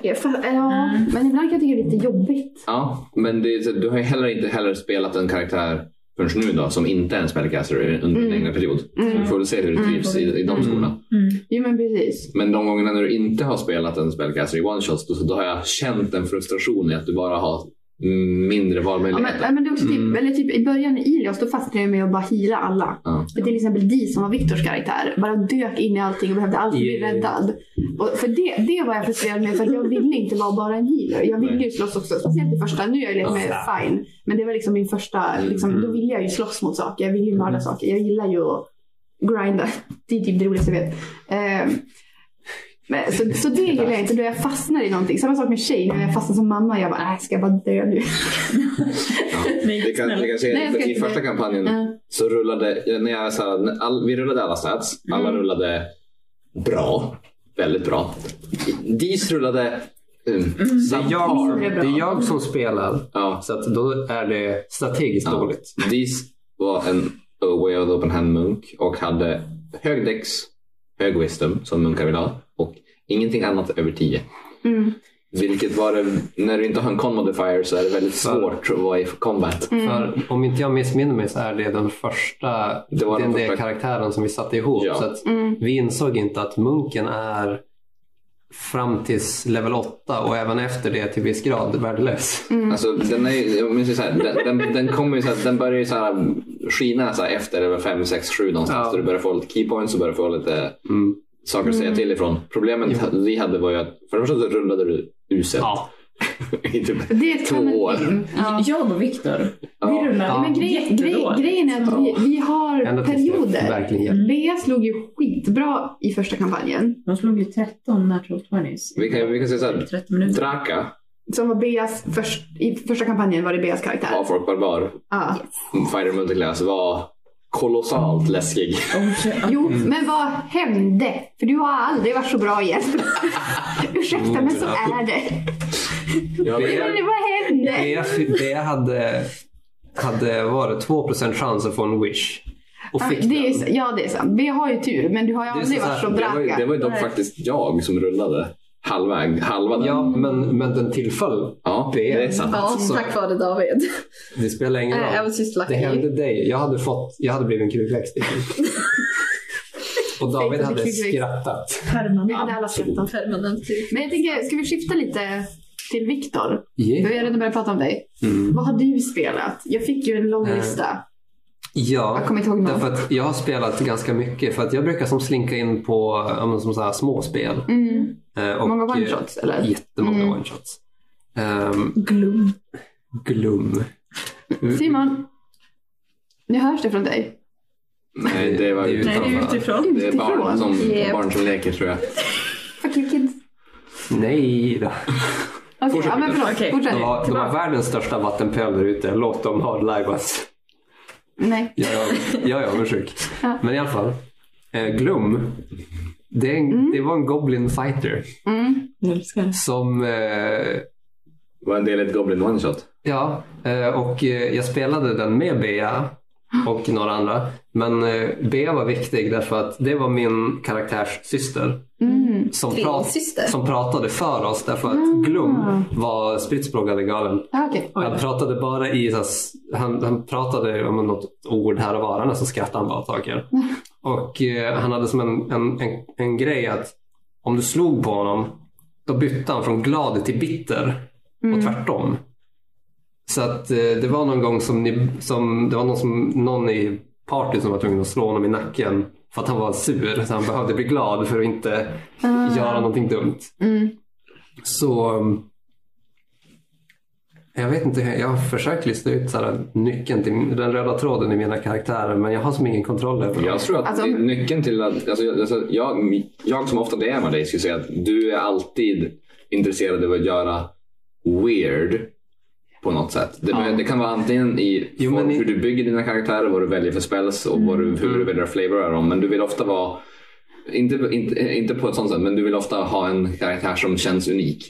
S1: Jag fa- Ja, men ibland kan jag tycka det är lite jobbigt.
S3: Ja, men det, är så- du har ju heller inte heller spelat en karaktär förrän nu då som inte är en spellcaster under din
S1: Mm.
S3: egna period.
S1: Mm.
S3: Vi får väl se hur du
S1: Mm.
S3: trivs i, i de skolorna.
S1: Jo men precis.
S3: Men de gångerna när du inte har spelat en spellcaster i one shots då, då har jag känt en frustration i att du bara har mm, mindre
S1: Ja, men,
S3: valmöjligheter.
S1: ja, men det är också typ,
S4: Mm.
S1: eller typ i början i Ilios då fastnade jag med att bara hila alla.
S3: Ja.
S1: För till exempel Di som var Viktors karaktär bara dök in i allting och behövde alltid bli
S4: Yeah.
S1: räddad. Och för det, det var jag frustrerad med för att jag ville inte vara bara en healer. Jag ville ju slåss också. Speciellt i första, nu är jag lite mer fine. Men det var liksom min första, liksom,
S4: Mm.
S1: då ville jag ju slåss mot saker. Jag ville ju mörda saker. Jag gillar ju att grinda. Det är typ det roligaste jag vet. Ehm, men, så, så det gillar jag inte, då jag fastnar i någonting. Samma sak med tjej, när jag fastnar som mamma. Jag bara, äh, ska jag bara dö nu?
S2: Nej,
S3: Vi kan, vi kan se,
S1: Nej, jag ska
S3: I
S1: inte-
S3: första kampanjen
S1: Ja.
S3: så rullade när jag, så här, när all, vi rullade alla stats. Alla
S1: Mm.
S3: rullade bra. Väldigt bra. Dis rullade mm,
S4: Det är, jag,
S1: Mindre bra.
S4: det är jag som spelar.
S3: Ja,
S4: Så att då är det strategiskt
S3: Ja.
S4: dåligt.
S3: Dis var en Way of the Open Hand Munk och hade hög dex, hög wisdom som munkar vill ha och ingenting annat över 10.
S1: Mm.
S3: Vilket var det, när du inte har en con modifier så är det väldigt svårt att vara i combat.
S4: För om inte jag missminner mig så är det den första
S3: Det var den
S4: den
S3: första-
S4: karaktären som vi satte ihop.
S3: Ja.
S4: Så att
S1: Mm.
S4: vi insåg inte att munken är fram tills level 8 och även efter det till viss grad värdelös.
S3: Alltså den är ju- jag minns ju så här, den, den, den kommer ju så här, den börjar ju så här skina så här efter över 5, 6, 7 någonstans.
S4: Ja.
S3: Så du börjar få lite keypoints och börjar få lite
S4: Mm.
S3: saker att säga till ifrån. Problemet vi hade var ju att för det första så rullade du uselt.
S4: Ja.
S3: I typ
S1: Det är
S3: två
S1: kan-
S3: år.
S1: Ja.
S2: Jag och Viktor,
S3: Ja.
S2: vi rullar
S4: Ja,
S1: Men grej, grej,
S2: jättedåligt.
S1: grejen är att vi, vi har
S4: Ända tills det
S1: perioder.
S4: verkligen hjälper.
S1: Bea slog ju skitbra i första kampanjen.
S2: De slog ju 13 natural 20s.
S3: Vi kan, vi kan säga så här,
S2: 30 minuter.
S3: Draka
S1: Som var Beas först, I första kampanjen var det Beas karaktär.
S3: av folk barbar,
S1: Ja.
S3: Fighter Multiclass var kolossalt läskig.
S2: Oh, shit.
S1: Jo,
S4: Mm.
S1: men vad hände? För du har aldrig varit så bra igen. Ursäkta, men
S4: Mm.
S1: så är det. Men vad hände?
S4: Bea, Bea hade, hade varit 2% chans att få en wish. Och
S1: Ja,
S4: fick
S1: Ah, Det är,
S4: den.
S1: ja, det är sant. Bea har ju tur, men du har ju
S4: är
S1: aldrig
S4: så
S1: varit
S4: här,
S1: så
S4: det
S3: Det var, ju- det
S1: draka.
S3: var ju dock faktiskt jag som rullade halvväg, halva den.
S4: Ja, men, men den tillföll.
S3: Ja,
S4: det är
S3: det är sant.
S5: Ja,
S4: Så-
S5: tack vare David.
S4: Det spelar ingen
S5: I
S4: roll.
S5: was just
S4: Det
S5: lucky.
S4: hände dig. Jag hade, fått, jag hade blivit en krukväxt. Och David
S1: Tänkte
S4: hade
S1: bli krukväxt.
S4: skrattat.
S1: Vi hade
S2: Permanent.
S1: alla skrattat.
S5: Permanent tur.
S1: Men jag tänker, ska vi skifta lite till Viktor? Vi har
S4: Yeah.
S1: redan börjat prata om dig.
S4: Mm.
S1: Vad har du spelat? Jag fick ju en lång
S4: Eh,
S1: lista.
S4: Ja,
S1: Jag kommer inte ihåg någon.
S4: därför att jag har spelat ganska mycket. För att jag brukar som slinka in på ja, men som så här, småspel.
S1: Mm.
S4: Eh, och,
S1: Många
S4: eh,
S1: one-shots, eller?
S4: Jättemånga
S1: Mm.
S4: one-shots. Ehm,
S2: Gloom.
S4: glum.
S1: Simon, nu hörs det från dig.
S3: Nej, det var
S4: Det är ju-
S2: Nej, det är utifrån.
S3: Det är barn som,
S5: Yep.
S3: barn som leker tror jag.
S1: Fuck you kids.
S4: Nej då.
S1: Okej,
S3: Fortsätt.
S1: ja, men förlåt.
S2: Okej.
S1: Fortsätt.
S4: De har, de har världens största vattenpöl där ute. Låt dem ha det lajbans.
S1: Nej.
S4: Jag är jag är avundsjuk.
S1: Ja.
S4: Men i alla fall. Eh, Glum. Det, är en, det var en Goblin fighter
S1: Mm.
S2: Jag älskar det.
S4: som... Eh,
S3: Det var en del i ett Goblin One Shot.
S4: ja, eh, och eh, jag spelade den med Bea och några andra. Men eh, Bea var viktig därför att det var min karaktärs syster.
S1: Mm.
S4: Som,
S5: Tvillingsyster.
S4: som pratade för oss därför att Glum var spritt språkande galen.
S1: Ah, Okej.
S4: Han pratade bara i så här, s- han, han pratade om något ord här och var, annars så skrattade han bara åt saker. Och eh, han hade som en, en, en, en grej att om du slog på honom, då bytte han från glad till bitter och tvärtom. Så att eh, det var någon gång som, ni, som det var någon, som, någon i partyt som var tvungen att slå honom i nacken för att han var sur. Så han behövde bli glad för att inte göra någonting dumt.
S1: Mm.
S4: Så um, Jag vet inte, hur- jag har försökt lista ut så här, nyckeln till den röda tråden i mina karaktärer men jag har som ingen kontroll över dem.
S3: Jag tror att
S1: Alltså-
S3: det- nyckeln till att... Alltså, jag- alltså, jag, jag som ofta DMar dig skulle säga att du är alltid intresserad av att göra weird på något sätt. Det,
S1: Ja.
S3: det kan vara antingen i
S4: Jo,
S3: form-
S4: men i- Mm.
S3: hur du bygger dina karaktärer, vad du väljer för spells och vad du, hur du väljer att flavora dem. Men du vill ofta vara, inte, inte, inte på ett sånt sätt, men du vill ofta ha en karaktär som känns unik.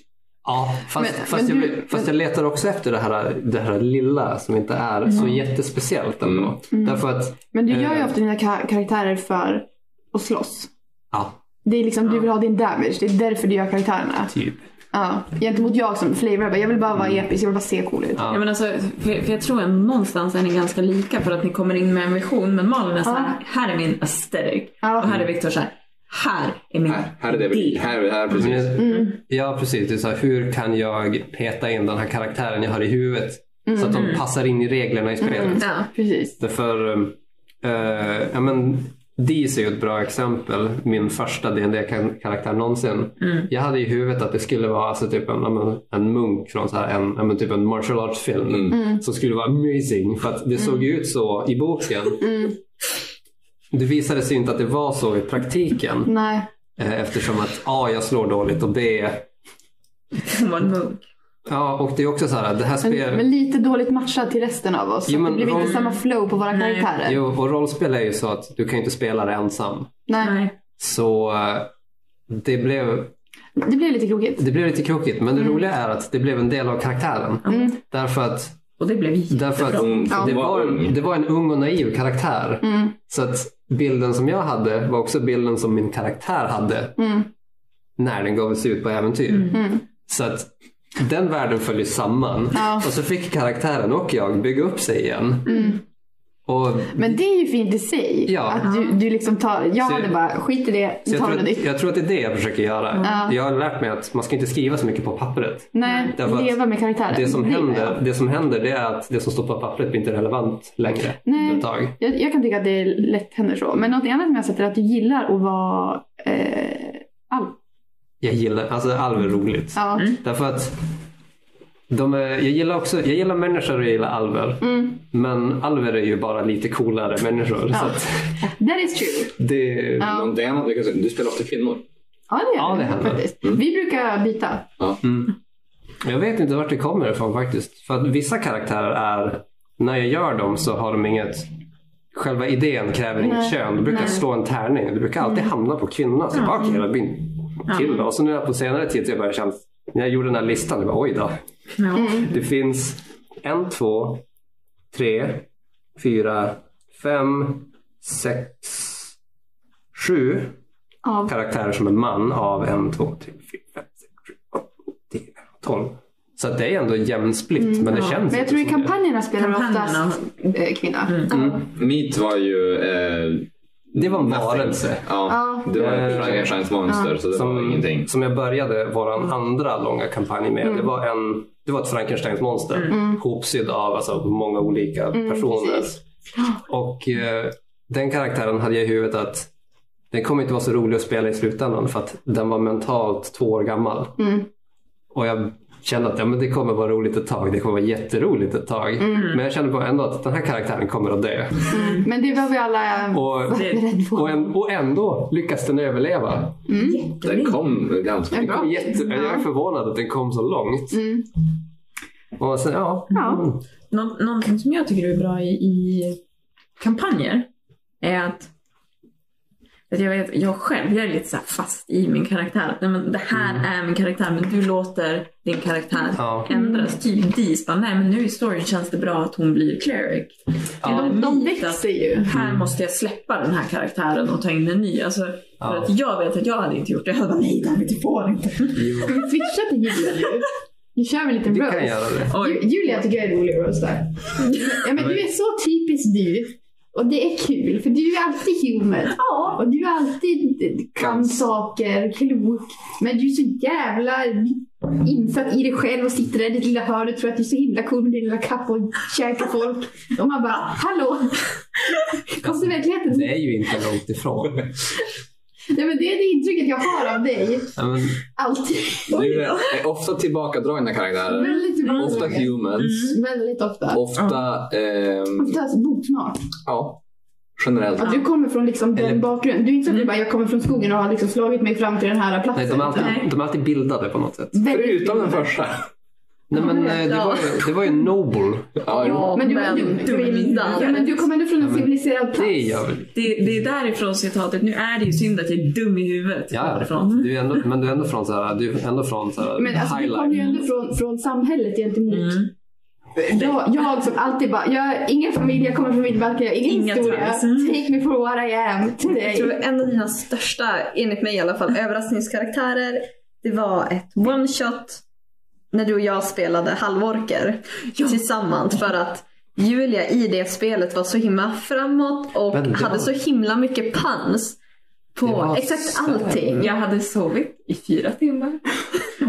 S4: Ja, fast,
S1: Men-
S4: fast,
S1: men
S4: jag,
S1: du-
S4: fast jag letar också efter det här, det här lilla som inte är så
S1: Mm.
S4: jättespeciellt ändå.
S3: Mm.
S4: Därför att,
S1: Men du gör ju
S4: Eh.
S1: ofta dina ka- karaktärer för att slåss.
S4: ja,
S1: Det är liksom, du vill ha din damage. Det är därför du gör karaktärerna.
S4: typ.
S1: Ja. Gentemot jag som flavor, jag bara, jag vill bara vara episk, jag vill bara se cool ut.
S2: Ja, men alltså, för, för jag tror att någonstans är ni ganska lika för att ni kommer in med en vision men Malin är så här, här är min aesthetic.
S1: Ja.
S2: Och här är Viktor så här, här är min
S3: Här, här är det vi,
S2: idé.
S3: här, här precis.
S4: Men,
S1: Mm.
S4: Ja, precis. Det är så här, hur kan jag peta in den här karaktären jag har i huvudet så att
S1: Mm.
S4: de passar in i reglerna i spelet?
S5: Ja.
S1: Precis.
S4: Därför, eh, ja men Deez är ju ett bra exempel. Min första dd karaktär någonsin.
S1: Mm.
S4: Jag hade i huvudet att det skulle vara alltså, typ en, ja, men, en munk från så här, en, ja, men, typ en martial arts film
S3: Mm.
S4: som skulle vara amazing för
S1: Mm.
S4: att det såg ju ut så i boken. Det visade sig inte att det var så i praktiken
S1: Nej.
S4: eh, eftersom att A, jag slår dåligt och B,
S2: Hon var en munk.
S4: ja och det är också så här, det här
S1: Men,
S4: spelet
S1: men lite dåligt matchad till resten av oss.
S4: Jo,
S1: Så
S4: men
S1: det blev
S4: om-
S1: inte samma flow på våra
S2: Nej.
S1: karaktärer.
S4: Jo, och rollspel är ju så att du kan ju inte spela det ensam.
S1: Nej.
S2: Nej.
S4: Så eh, det blev,
S1: Det blev lite krokigt.
S4: det blev lite krokigt. Men det
S1: Mm.
S4: roliga är att det blev en del av karaktären. Därför att,
S2: Och det blev jättebra.
S4: därför att
S3: Hon
S1: Ja.
S4: det,
S3: hon var
S4: var,
S3: ung.
S4: det var en ung och naiv karaktär.
S1: Mm.
S4: Så att bilden som jag hade var också bilden som min karaktär hade
S1: Mm.
S4: när den gav sig ut på äventyr.
S1: Mm.
S4: Så att den världen föll ju samman.
S1: Ja.
S4: Och så fick karaktären och jag bygga upp sig igen.
S1: Mm.
S4: Och
S1: Men det är ju fint i sig.
S4: Ja.
S1: Att du, du liksom tar, jag
S4: Så-
S1: hade bara skit i det, vi
S4: Så
S1: tar
S4: jag, tror
S1: något
S4: att,
S1: nytt.
S4: jag tror att det är det jag försöker göra.
S1: Ja.
S4: Jag har lärt mig att man ska inte skriva så mycket på pappret.
S1: Nej,
S4: Därför att
S1: leva med karaktären.
S4: Det som,
S1: är
S4: händer, det som händer det är att det som står på pappret blir inte relevant längre.
S1: Nej.
S4: för Ett tag.
S1: Jag, jag kan tycka att det lätt händer så. Men något annat som jag har sett är att du gillar att vara eh, allt.
S4: Jag gillar, alltså alver är roligt.
S1: Ja.
S4: Därför att de är, jag, gillar också, jag gillar människor och jag gillar alver.
S1: Mm.
S4: Men alver är ju bara lite coolare människor. Så att
S1: That is true.
S4: det,
S1: Ja,
S3: Någon DM, du kan säga, du spelar ofta kvinnor.
S1: ja det gör
S4: Mm. Ja, det
S1: det
S4: händer. Mm.
S1: faktiskt. Vi brukar byta.
S4: Jag vet inte vart det kommer ifrån faktiskt. För att vissa karaktärer är, när jag gör dem så har de inget, själva idén kräver
S1: Nej.
S4: inget kön. Du brukar
S1: Nej. Mm.
S4: slå en tärning. Du brukar alltid hamna på kvinna. Så jag bara, okej, det blir en kille. Och så nu på senare tid så jag bara känt, när jag gjorde den här listan, jag bara, oj då.
S2: Ja.
S1: Mm.
S4: Det finns en, två, tre, fyra, fem, sex, sju
S1: Av.
S4: karaktärer som är man av en, två, tre, fyra, fem, sex, sju, åtta, nio, tio, elva, tolv. Så att det är ändå jämnsplitt, men det
S2: ja.
S4: känns
S1: Mm, Men jag tror i
S4: inte som det.
S1: kampanjerna spelar vi
S2: Kampanjerna.
S1: oftast eh, kvinna.
S3: Meat var ju... Eh,
S4: Det var en
S3: nothing.
S4: varelse.
S3: Ja,
S1: Ja.
S3: det var
S4: Eh,
S3: ett Frankensteins monster så det var ingenting.
S4: som jag började vår andra långa kampanj med.
S1: Mm.
S4: Det, var en, det var ett Frankensteins monster. Hopsydd av alltså, många olika personer.
S1: Mm, precis.
S4: Och eh, den karaktären hade jag i huvudet att den kommer inte vara så rolig att spela i slutändan för att den var mentalt två år gammal.
S1: Mm.
S4: Och jag kände att ja, men det kommer vara roligt ett tag. Det kommer vara jätteroligt ett tag.
S1: Mm.
S4: Men jag kände bara ändå att den här karaktären kommer att dö.
S1: Men det var vi alla eh,
S4: Mm. Och,
S1: rädda
S4: och,
S1: för. Mm.
S4: en, och ändå lyckas den överleva.
S3: Den kom ganska
S1: En bra-
S4: kom jätte,
S1: Ja.
S4: Jag är förvånad att den kom så långt.
S1: Mm.
S4: Och sen, ja. Mm.
S1: Ja.
S2: Nå- någonting som jag tycker är bra i, i kampanjer är att, att jag, vet, jag själv jag är lite så här fast i min karaktär. Att, nej, men det här
S4: Mm.
S2: är min karaktär men du låter din karaktär
S4: Ja.
S2: ändras.
S4: Mm.
S2: Typ Deez bara, nej men nu i storyn känns det bra att hon blir cleric.
S4: Ja. Mm.
S1: De,
S2: Eller
S1: de
S2: myt
S1: växer ju.
S2: att alltså, Här måste jag släppa den här karaktären och ta in en ny. Alltså, för
S4: Ja.
S2: att jag vet att jag hade inte gjort det. Jag hade bara, nej David du får inte.
S4: Jo,
S1: Ska vi switcha till Julia nu? Nu kör vi en liten
S4: vi kan
S1: roast.
S4: göra det.
S1: Ju-
S2: Oj.
S1: Julia tycker jag är rolig att roasta. Ja, men du är så typiskt du. Och det är kul, för du är alltid human.
S2: Ja.
S1: Och du är alltid kan saker, klok. Men du är så jävla insatt i dig själv och sitter där i ditt lilla hörn och tror att du är så himla cool med din lilla kappa och käkar folk. Och man bara, hallå! Kom till verkligheten.
S4: Det är ju inte långt ifrån.
S1: Nej, men det är det intrycket jag har av dig.
S4: Ja, men,
S1: Alltid.
S3: Du är är ofta tillbakadragna karaktärer.
S1: Väldigt
S3: Ofta
S1: tillbakadragen.
S3: humans.
S1: Väldigt ofta.
S3: Ofta... ehm,
S1: Ofta alltså botsmart.
S3: ja. Generellt.
S1: Att du kommer från liksom den
S4: Eller- Mm.
S1: bakgrunden. Du är inte så att du bara, jag kommer från skogen och har liksom slagit mig fram till den här platsen.
S4: nej, de, är
S2: Nej.
S4: alltid, de är alltid bildade på något sätt.
S1: Väldigt
S3: Förutom den
S1: bra.
S3: första.
S4: Nej, men, eh, det, var ju, det var ju Noble.
S3: Ja, jo.
S5: Ja,
S1: Men du,
S5: men-
S1: du, du, du,
S5: Bildan.
S1: ja, men du kommer ändå från en
S4: Ja, men-
S1: civiliserad plats.
S4: Det gör väl
S2: Det, det är därifrån citatet, nu är det ju synd att jag är dum i huvudet. Mm.
S4: Ja, ja.
S2: Därifrån.
S4: Du är ändå, men du är ändå från så här, du är ändå från så här,
S1: Men alltså, du
S4: highlight.
S1: kommer ju ändå från, från samhället gentemot
S2: Mm.
S1: jag, jag som alltid bara, jag har ingen familj, jag kommer från Vildbacka, jag har ingen
S2: Inga
S1: historia.
S2: trams. Mm.
S1: Take me for what I am
S5: Jag
S1: today.
S5: tror en av dina största, enligt mig i alla fall, överraskningskaraktärer. Det var ett one shot när du och jag spelade halvorker
S2: Ja.
S5: tillsammans. För att Julia i det spelet var så himla framåt och
S4: Men det
S5: hade
S4: var-
S5: så himla mycket pans
S4: Det
S5: på
S4: var
S5: exakt
S4: så-
S5: allting.
S2: Jag hade sovit i fyra timmar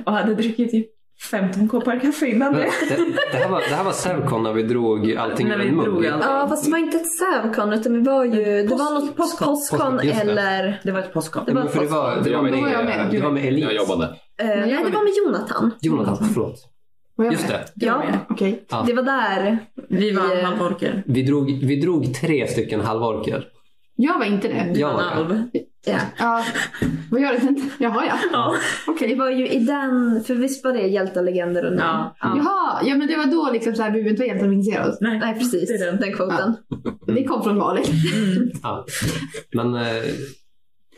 S2: och hade druckit typ 15 koppar kaffe innan
S4: Men
S2: det.
S4: det, det här var, det här var Sevcon när vi drog allting
S2: När
S4: ur
S2: vi
S4: en mugg.
S2: drog allt.
S5: Ja fast det var inte ett Sävcon utan vi var ju, det var något
S2: Påsk-
S5: Postcon
S4: Påsk- just det.
S5: eller,
S2: Det var ett påskkopp.
S5: Det var-
S4: Men för det var, det
S3: Jag
S4: var med,
S3: var med.
S4: det var med, Elis.
S3: Jag jobbade.
S5: eh, nej det var med Jonathan.
S4: Jonathan, förlåt.
S1: Var jag
S4: Just
S1: med?
S4: det.
S5: Ja,
S1: Okej.
S5: det var där.
S2: Vi eh, var
S5: Yeah.
S2: halvorker.
S4: Vi drog, vi drog tre stycken halvorker.
S1: Jag var inte det.
S4: Jag var
S2: En
S4: det.
S2: alv.
S5: Ja.
S1: Ja. Vad gör det inte? Jaha ja.
S2: Ja.
S5: Det
S1: Okej.
S5: var ju i den, för visst var det hjältalegender och namn?
S2: Ja.
S1: Jaha, ja men det var då liksom så här, vi behöver inte vara hjältar oss.
S2: Nej.
S5: Nej precis,
S2: Det är
S5: den.
S2: den.
S5: kvoten.
S4: Mm.
S1: Det kom från Malin.
S4: Ja. Men, eh,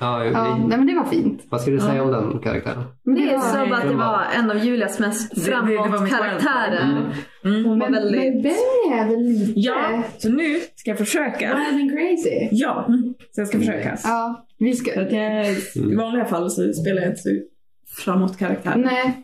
S4: ja,
S1: Ja,
S4: vi,
S1: nej men det var fint.
S4: vad ska du säga
S2: Ja.
S4: om den karaktären?
S1: Men
S5: Det är
S1: var-
S5: som att det
S4: det var-
S5: var en av Julias
S2: Det-
S5: mest
S2: det- det var mitt
S5: framåt-karaktärer.
S2: självklart. Mm.
S5: Hon var
S1: men, men
S5: väldigt...
S1: Benny är väl lite
S2: Ja, så nu ska jag försöka.
S1: wild and crazy?
S2: Ja, så jag ska försöka.
S1: Ja, vi ska...
S2: För att jag, I vanliga fall så spelar jag inte så framåt karaktär. Men
S1: Nej.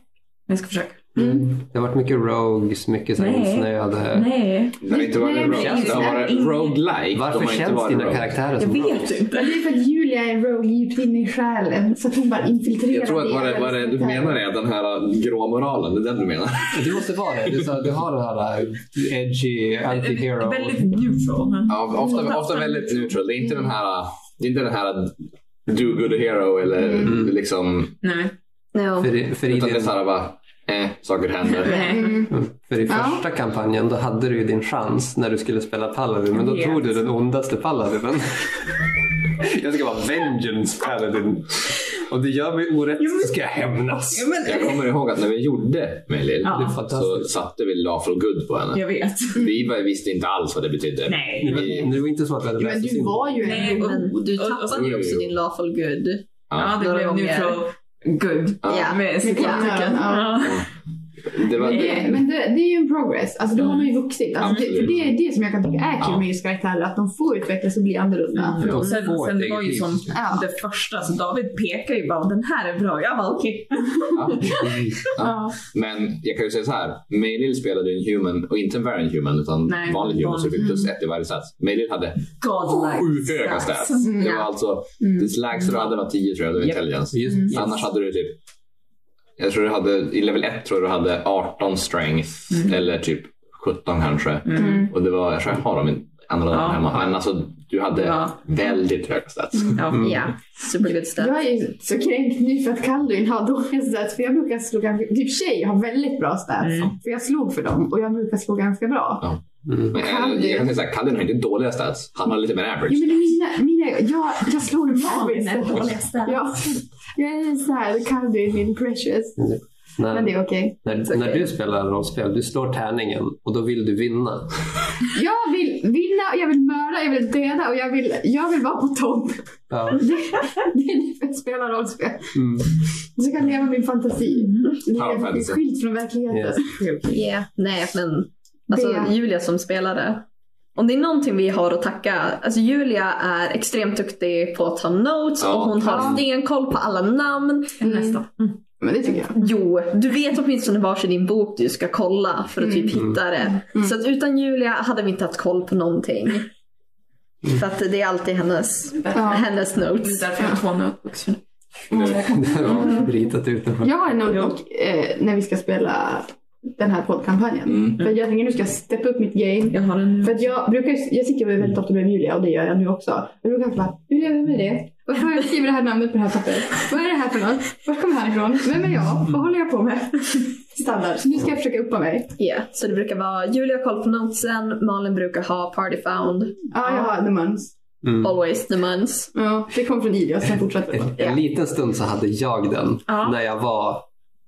S2: jag ska försöka.
S4: Mm. Det har varit mycket rogues, mycket så här
S2: Nej.
S4: insnöade.
S2: Nej,
S3: Det har inte varit
S1: Nej,
S3: road.
S1: men
S3: Det har varit
S2: ingen-
S3: roguelike. De
S4: Varför
S3: har inte
S4: känns
S3: varit
S4: dina
S3: rogue.
S4: karaktärer
S2: jag
S4: som
S2: vet
S4: rogues?
S1: Men
S2: inte.
S1: det är för att Julia är en rogue djupt in i själen. Så att hon bara infiltrerar
S3: Jag tror att vad det, vad det du menar är den här grå moralen. Det är den du menar.
S4: Du måste vara det. Du, är så här, du har den här eh, edgy anti-hero.
S2: Väldigt neutral.
S3: Ja, ofta, ofta väldigt neutral. Det är inte den här, det är inte den här do good hero eller
S4: Mm.
S3: liksom.
S2: Nej.
S5: Ja.
S4: För i, för i,
S3: Utan det är
S4: din,
S3: så här bara, eh, saker händer.
S2: Nej.
S1: Mm.
S4: för i
S1: Ja.
S4: första kampanjen då hade du ju din chans när du skulle spela Paladin men då
S2: Jag
S4: tog
S2: vet.
S4: du den ondaste Paladinen. jag ska vara Vengeance Paladin. Om du gör mig orätt så ska jag hämnas.
S2: Ja, men,
S3: Jag kommer ihåg att när vi gjorde Melil
S2: Ja. Det är
S3: så
S4: fantastiskt.
S3: satte vi lawful good på henne.
S2: jag vet.
S3: Vi var- visste inte alls vad det betydde.
S2: Nej.
S4: Men det var inte så att vi hade
S1: Men
S4: läst
S1: du
S4: in.
S1: var ju
S2: Nej,
S1: en rogue.
S5: Men du
S2: Och- och-
S5: tappade ju också din lawful good.
S2: Ja, det
S5: Några
S2: blev
S5: gånger.
S2: neutral. Good.
S3: Ja.
S5: Ja.
S2: Med
S1: Ja.
S2: citattecken. Ja.
S3: Det var,
S1: Men det, men det, det är ju en progress. Alltså då har man ju vuxit. Alltså, det,
S3: Absolut.
S1: för det är det som jag kan tycka är kul
S3: Ja. Mm.
S1: med just karaktärer. Att de får utvecklas och bli annorlunda.
S4: För de
S2: Och sen,
S4: får
S2: sen
S4: ett
S2: det var
S4: eget
S2: ju som
S4: livsstil.
S1: Ja.
S2: det första, så David pekar ju bara den här är bra. Jag bara okej.
S3: ja.
S1: Ja.
S3: Men jag kan ju säga så här. Melil spelade ju en human och inte en variant human utan
S2: Nej,
S3: vanlig human så vi fick plus
S1: Mm.
S3: ett i varje stats. Melil hade
S2: God like.
S3: sju höga stats.
S1: Mm.
S3: Det var alltså,
S1: Mm.
S3: det lägsta du hade var 10 tror jag, det var
S4: Japp.
S3: intelligence.
S4: Just,
S1: Mm.
S4: just.
S3: Annars hade du typ, jag tror du hade, i level 1 tror jag du hade 18 strength
S2: Mm.
S3: eller typ 17 kanske.
S2: Mm.
S3: Och det var, jag tror jag har dem i andra
S2: Ja.
S3: ja. hemma. Men alltså du hade
S2: Ja.
S3: väldigt höga stats.
S5: Mm.
S2: Ja.
S5: Ja, super good stuff.
S1: Jag är ju så kränkt nu för att Kalduin har dåliga stats. För jag brukar slå ganska... Typ tjej har väldigt bra stats.
S2: Mm.
S1: För jag slog för dem och jag brukar slå ganska bra.
S4: Mm.
S3: Men jag, jag kan säga såhär, Kallen har inte dåliga stats. Han har lite mer average.
S1: Jo men mina... mina jag, jag slog med
S2: David är
S1: average.
S2: dåliga stats.
S1: Ja. Jag är så här, Kalduin min precious.
S4: När,
S1: Men det är okej.
S4: när, när du spelar rollspel, du slår tärningen och då vill du vinna.
S1: Jag vill vinna och jag vill mörda, jag vill döda och jag vill, jag vill vara på topp.
S4: Ja.
S1: Mm. Det är därför jag spelar rollspel.
S4: Mm.
S1: Så jag kan leva min fantasi. Det
S3: Ja,
S1: är
S3: fantasy.
S1: skilt från verkligheten.
S4: Yes.
S2: Det är okej.
S5: Yeah. Nej men, alltså
S1: Det-
S5: Julia som spelare. Om det är någonting vi har att tacka, alltså Julia är extremt duktig på att ta notes
S3: Ja.
S5: och hon har
S1: Ja.
S5: stenkoll på alla namn.
S1: Mm.
S2: Nästa.
S1: Men det tycker jag.
S5: Jo, du vet åtminstone vars i din bok du ska kolla för att typ
S4: Mm.
S5: hitta det.
S1: Mm.
S5: Så att utan Julia hade vi inte haft koll på någonting.
S4: Mm.
S5: För att det är alltid hennes,
S1: Ja. Mm.
S5: hennes
S2: Det är
S5: notes.
S2: därför jag har två notebooks.
S3: Nu-
S4: Ritat ut den. Mm.
S1: Jag har en notebook eh, när vi ska spela den här poddkampanjen.
S3: Mm.
S1: För jag tänker nu ska jag steppa upp mitt game.
S2: Jag har den
S1: För
S2: nu.
S1: att jag brukar ju- jag sitter ju
S4: Mm.
S1: väldigt ofta med Julia och det gör jag nu också. Jag brukar alltid bara, Julia vem är det? Varför har jag skrivit det här namnet på det här pappret? Vad är det här för något? Var kommer det här ifrån? Vem är jag? Vad håller jag på med? Standard. Så nu ska jag försöka uppa mig.
S5: Ja, så det brukar vara Julia har koll på notesen, Malin brukar ha party found,
S1: Ja, jag har the muns.
S4: Mm.
S5: always the months.
S1: Ja, det kom från Ilias, sen fortsätter det.
S4: En, en liten stund så hade jag den
S2: Ja.
S4: när jag var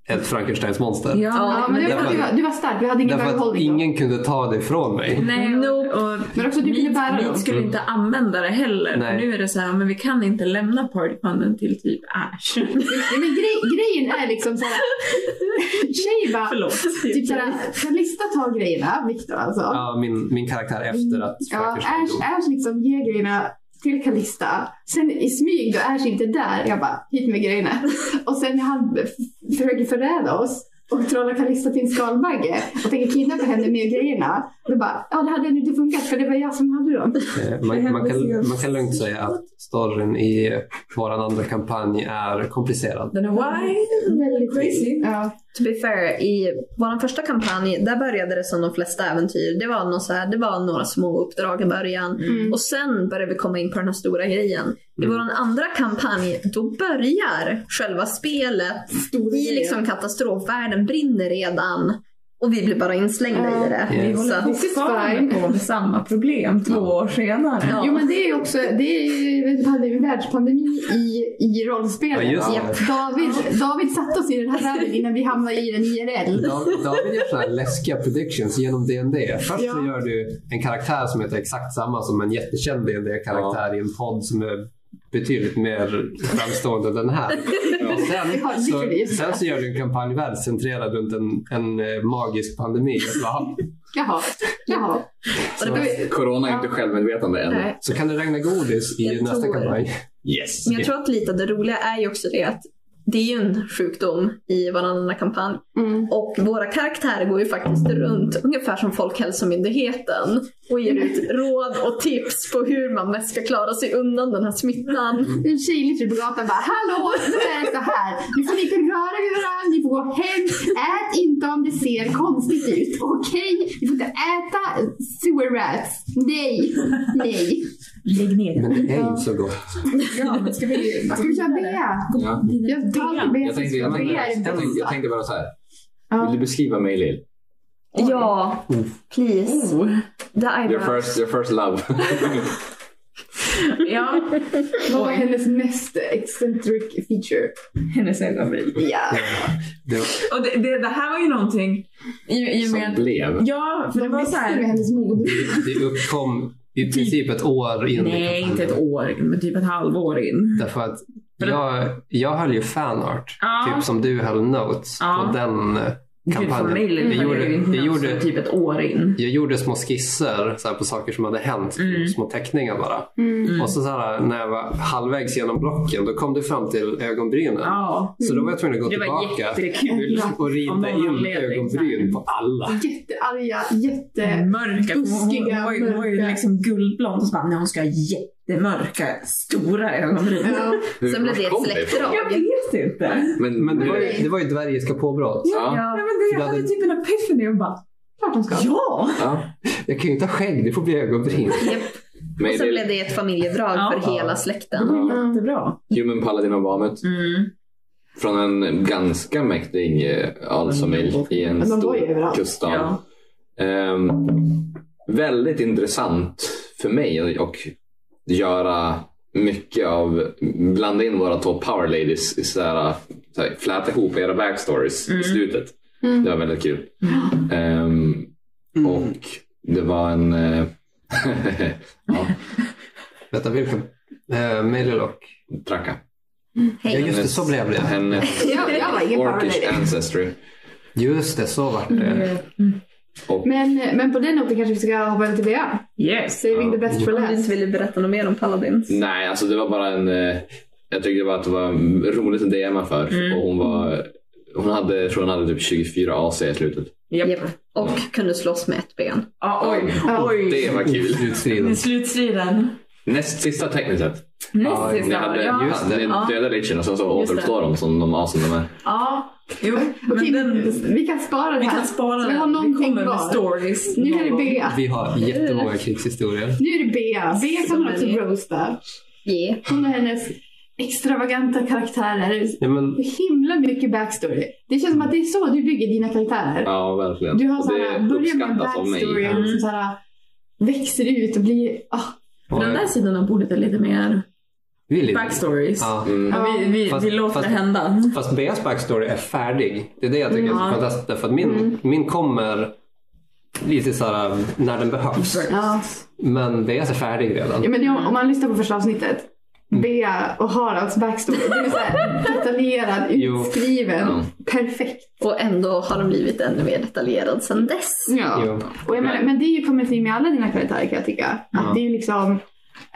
S4: ett Frankensteins monster.
S5: Ja,
S1: Ja, men det var för att du var, du var stark. Vi hade ingen
S4: Därför att
S1: behållning.
S4: ingen kunde ta det ifrån mig.
S2: Nej,
S5: Nope.
S2: och, och
S1: Men också du
S2: vi,
S1: kunde bära
S2: vi
S1: dem.
S2: skulle inte använda det heller.
S4: Nej.
S2: För nu är det så här, men vi kan inte lämna partypannen till typ Ash.
S1: Ja, men grej, grejen är liksom såhär. Tjej bara,
S2: Förlåt.
S1: typ såhär, Calista tar grejerna, Viktor alltså.
S4: Ja, min, min karaktär efter att
S1: Ja,
S4: Frankenstein
S1: Ash,
S4: dog.
S1: Ash liksom ger grejerna till Kalista. Sen i smyg då Ash inte är där. Jag bara, hit med grejerna. Och sen när han f- försöker förräda oss och trollar Kalista till en skalbagge och tänker kidnappa henne med grejerna. Då bara, ja det hade ändå inte funkat för det var jag som hade dem.
S4: Eh, Man, man, kan, man kan lugnt säga att storyn i vår andra kampanj är komplicerad.
S2: Den är why?
S1: Väldigt
S2: Crazy.
S1: Ja.
S5: To be fair, i vår första kampanj, där började det som de flesta äventyr. Det var, någon så här, det var några små uppdrag i början.
S1: Mm.
S5: Och sen började vi komma in på den här stora grejen. I
S4: Mm.
S5: vår andra kampanj, då börjar själva spelet
S1: Stora
S5: i
S1: grejer.
S5: liksom katastrofvärlden, brinner redan. Och vi blir bara inslängda i det.
S4: Ja.
S2: Vi
S5: Så
S2: håller
S5: att-
S1: This is fine.
S2: fortfarande på med samma problem två år senare.
S5: Ja.
S1: Jo men det är ju också, det är ju en pandemi, världspandemi i, i rollspelet.
S4: Ja, just det.
S1: David, David satte oss i den här världen innan vi hamnade i den IRL.
S4: Da- David gör sådana här läskiga predictions genom D&D. Först så
S1: Ja.
S4: gör du en karaktär som heter exakt samma som en jättekänd dd karaktär i en podd som är betydligt mer framstående än den här. Och
S1: Ja,
S4: sen,
S1: literally.
S4: så, sen så gör du en kampanjvärld centrerad runt en, en eh, magisk pandemi. Och så, aha,
S1: Jaha, jaha.
S5: Och det
S4: Så-
S5: började-
S3: Corona är inte självmedvetande än.
S5: Mm. Nej.
S4: Så kan det regna godis i
S5: Jag
S4: nästa
S5: tror-
S4: kampanj.
S3: Yes.
S5: Men jag tror att lite av det roliga är ju också det att det är ju en sjukdom i varannan kampanj.
S1: Mm.
S5: Och våra karaktärer går ju faktiskt runt ungefär som Folkhälsomyndigheten och ger ut råd och tips på hur man mest ska klara sig undan den här smittan.
S1: En tjej lite på gatan bara Hallå, nu är det så här. Ni får inte röra vid varandra, ni får gå hem. Ät inte om det ser konstigt ut. Okej? Ni får inte äta sewer rats. Nej, nej.
S2: Lägg ner den.
S4: Men det är ju så gott.
S2: Ja, men ska vi...
S1: Ska vi köra bea?
S3: Ja.
S1: Jag tar alltid bea.
S3: Jag, tänkte, jag, tänkte,
S1: Bea är
S3: jag,
S1: det
S3: tänkte, jag
S1: bästa.
S3: tänkte bara så här. Vill du
S1: Ja.
S3: beskriva mig Lill?
S5: Ja, please.
S2: Oh.
S5: The
S3: Your
S5: eyebrows.
S3: first, your first love.
S2: Ja,
S1: Vad var hennes mest eccentric feature?
S2: hennes ögonbryn.
S1: Ja.
S4: Det,
S2: Och det, det, det här var ju någonting i, i och med
S3: som
S2: att...
S3: blev.
S2: Ja, för det
S1: De
S2: var så
S1: växte med
S2: här...
S1: hennes mod.
S4: det uppkom i princip ett år innan
S2: Nej,
S4: kampanjen.
S2: inte ett år in, men typ ett halvår in.
S4: Därför att
S2: För det-
S4: jag, jag höll ju fanart,
S2: Ja.
S4: typ som du höll notes
S2: Ja.
S4: på den eh,
S2: Gud, för mig
S4: kampanjen. Jag
S2: luktar
S4: gjorde,
S2: det ju inte
S4: jag,
S2: något
S4: gjorde,
S2: som typ ett år in.
S4: jag gjorde små skisser så här, på saker som hade hänt, typ
S2: Mm.
S4: små teckningar bara.
S1: Mm.
S4: Och så, så här, när jag var halvvägs genom blocken, då kom du fram till ögonbrynen.
S2: Ja,
S4: Så då var jag tvungen att gå
S2: det var
S4: tillbaka
S2: jättekul.
S4: och
S2: Av
S4: rita
S2: någon
S4: in
S2: anledning,
S4: ögonbryn på alla.
S1: Jättearga,
S2: Mm.
S1: jätte...
S2: Mörka. Hon, hon,
S1: Buskiga,
S2: var ju- hon var ju
S1: mörka.
S2: liksom guldblond och så bara, nej hon ska ha jättemörka, stora ögonbryn.
S1: Ja.
S3: Hur-
S5: Sen blev
S3: vart
S5: det ett
S3: kom ifrån?
S5: släktdrag.
S2: Jag vet inte.
S3: Men,
S4: Men det
S3: nu-
S4: var ju, det var ju dvärgiska påbrott.
S3: ja.
S2: Nej,
S5: Ja.
S2: men det,
S4: Du
S2: jag hade
S4: hade-
S2: typ en epiphany och bara,
S1: Klart de ska.
S2: ja!
S3: ja.
S4: Jag kan ju inte ha skägg, det får bli ögonbryn.
S5: Japp.
S3: Men
S5: Och sen
S3: det-
S5: blev det ett familjedrag
S2: Ja.
S5: för hela
S2: Det
S5: släkten.
S2: var jättebra.
S3: Human Paladin of Bamet.
S2: Mm.
S3: Från en ganska mäktig eh, adelsfamilj i en
S1: Men de var ju
S3: stor
S1: överallt.
S3: kuststad.
S2: Ja.
S3: Ehm, väldigt intressant för mig och göra mycket av, blanda in våra två power ladies, i så här, så här, fläta ihop era backstories i slutet. Det var väldigt kul. Ehm, Och det var en... eh, ja,
S4: Vänta, vilken? Eh, Melilock.
S3: tracka.
S4: Ja,
S5: Hej.
S4: just det, så blev det.
S1: Mm.
S3: Hennes
S1: Jag, jag var ingen
S3: orkish
S1: powerlady.
S3: ancestry.
S4: Just det, så vart det.
S1: Mm.
S2: Eh,
S1: Men, men på den noten kanske vi ska hoppa över till bea.
S2: Yes.
S1: Saving the best for
S5: Om du
S1: last.
S5: inte ville berätta något mer om Paladins.
S3: Nej, alltså det var bara en... eh, Jag tyckte bara att det var roligt att DMa för.
S2: Mm.
S3: Och hon var... Hon hade, jag tror hon hade typ 24 AC i slutet.
S2: Japp.
S5: Japp. Och kunde slåss med ett ben.
S2: Ja, oj,
S1: Ja.
S2: oj.
S3: Det var kul.
S1: Mm.
S4: Slutstriden.
S2: Slutstriden.
S3: Näst sista tekniskt sett.
S2: Näst
S4: Ja,
S2: sista
S3: Ni
S2: var
S3: hade,
S2: det. Mm. Ja,
S4: just
S3: ni
S2: Ja.
S3: dödade Lichen och sen så
S2: Just det.
S3: återuppstår de som de asen de är.
S2: ja. Jo, men
S1: Okej,
S2: den,
S1: vi kan spara det
S2: vi
S1: här.
S2: kan spara
S1: Så
S2: den.
S1: vi har
S2: vi
S1: någonting
S2: kommer med
S1: kvar.
S2: stories.
S1: Nu är det
S2: någon gång.
S1: Bea.
S4: Vi har
S1: Mm.
S4: jättemånga krigshistorier.
S1: Nu är det Bea. Bea kan man också
S5: Som är-
S1: roasta.
S5: Yeah.
S1: Hon och hennes extravaganta karaktärer.
S4: Ja, men,
S1: Så himla mycket backstory. Det känns som att det är så du bygger dina karaktärer.
S3: Ja, verkligen.
S1: Du har
S3: Och
S1: såhär, börjar med
S3: uppskattas av mig.
S1: backstoryn
S2: Mm.
S1: som såhär, växer ut och blir... ah,
S4: och,
S2: Den där sidan av bordet är lite mer
S4: vi är lite-
S2: backstories.
S4: Ja.
S3: Mm.
S2: Ja, vi, vi,
S4: Fast-
S2: vi låter
S4: fast-
S2: det hända.
S4: Fast Beas backstory är färdig. Det är det jag tycker är
S2: Mm.
S4: så fantastiskt. Därför att min,
S1: Mm.
S4: min kommer lite såhär när den behövs.
S1: ja.
S4: Men Beas är färdig redan.
S1: ja men om, om man lyssnar på första avsnittet. Bea och Haralds backstory. Den är såhär detaljerad,
S4: Jo.
S1: utskriven.
S3: Ja.
S1: Perfekt.
S5: Och ändå har de blivit ännu mer detaljerad sen dess.
S1: Ja.
S4: Jo.
S1: Och jag menar, men det är ju kommit in med alla dina karaktärer kan jag tycka. Att
S4: Ja.
S1: det är ju liksom,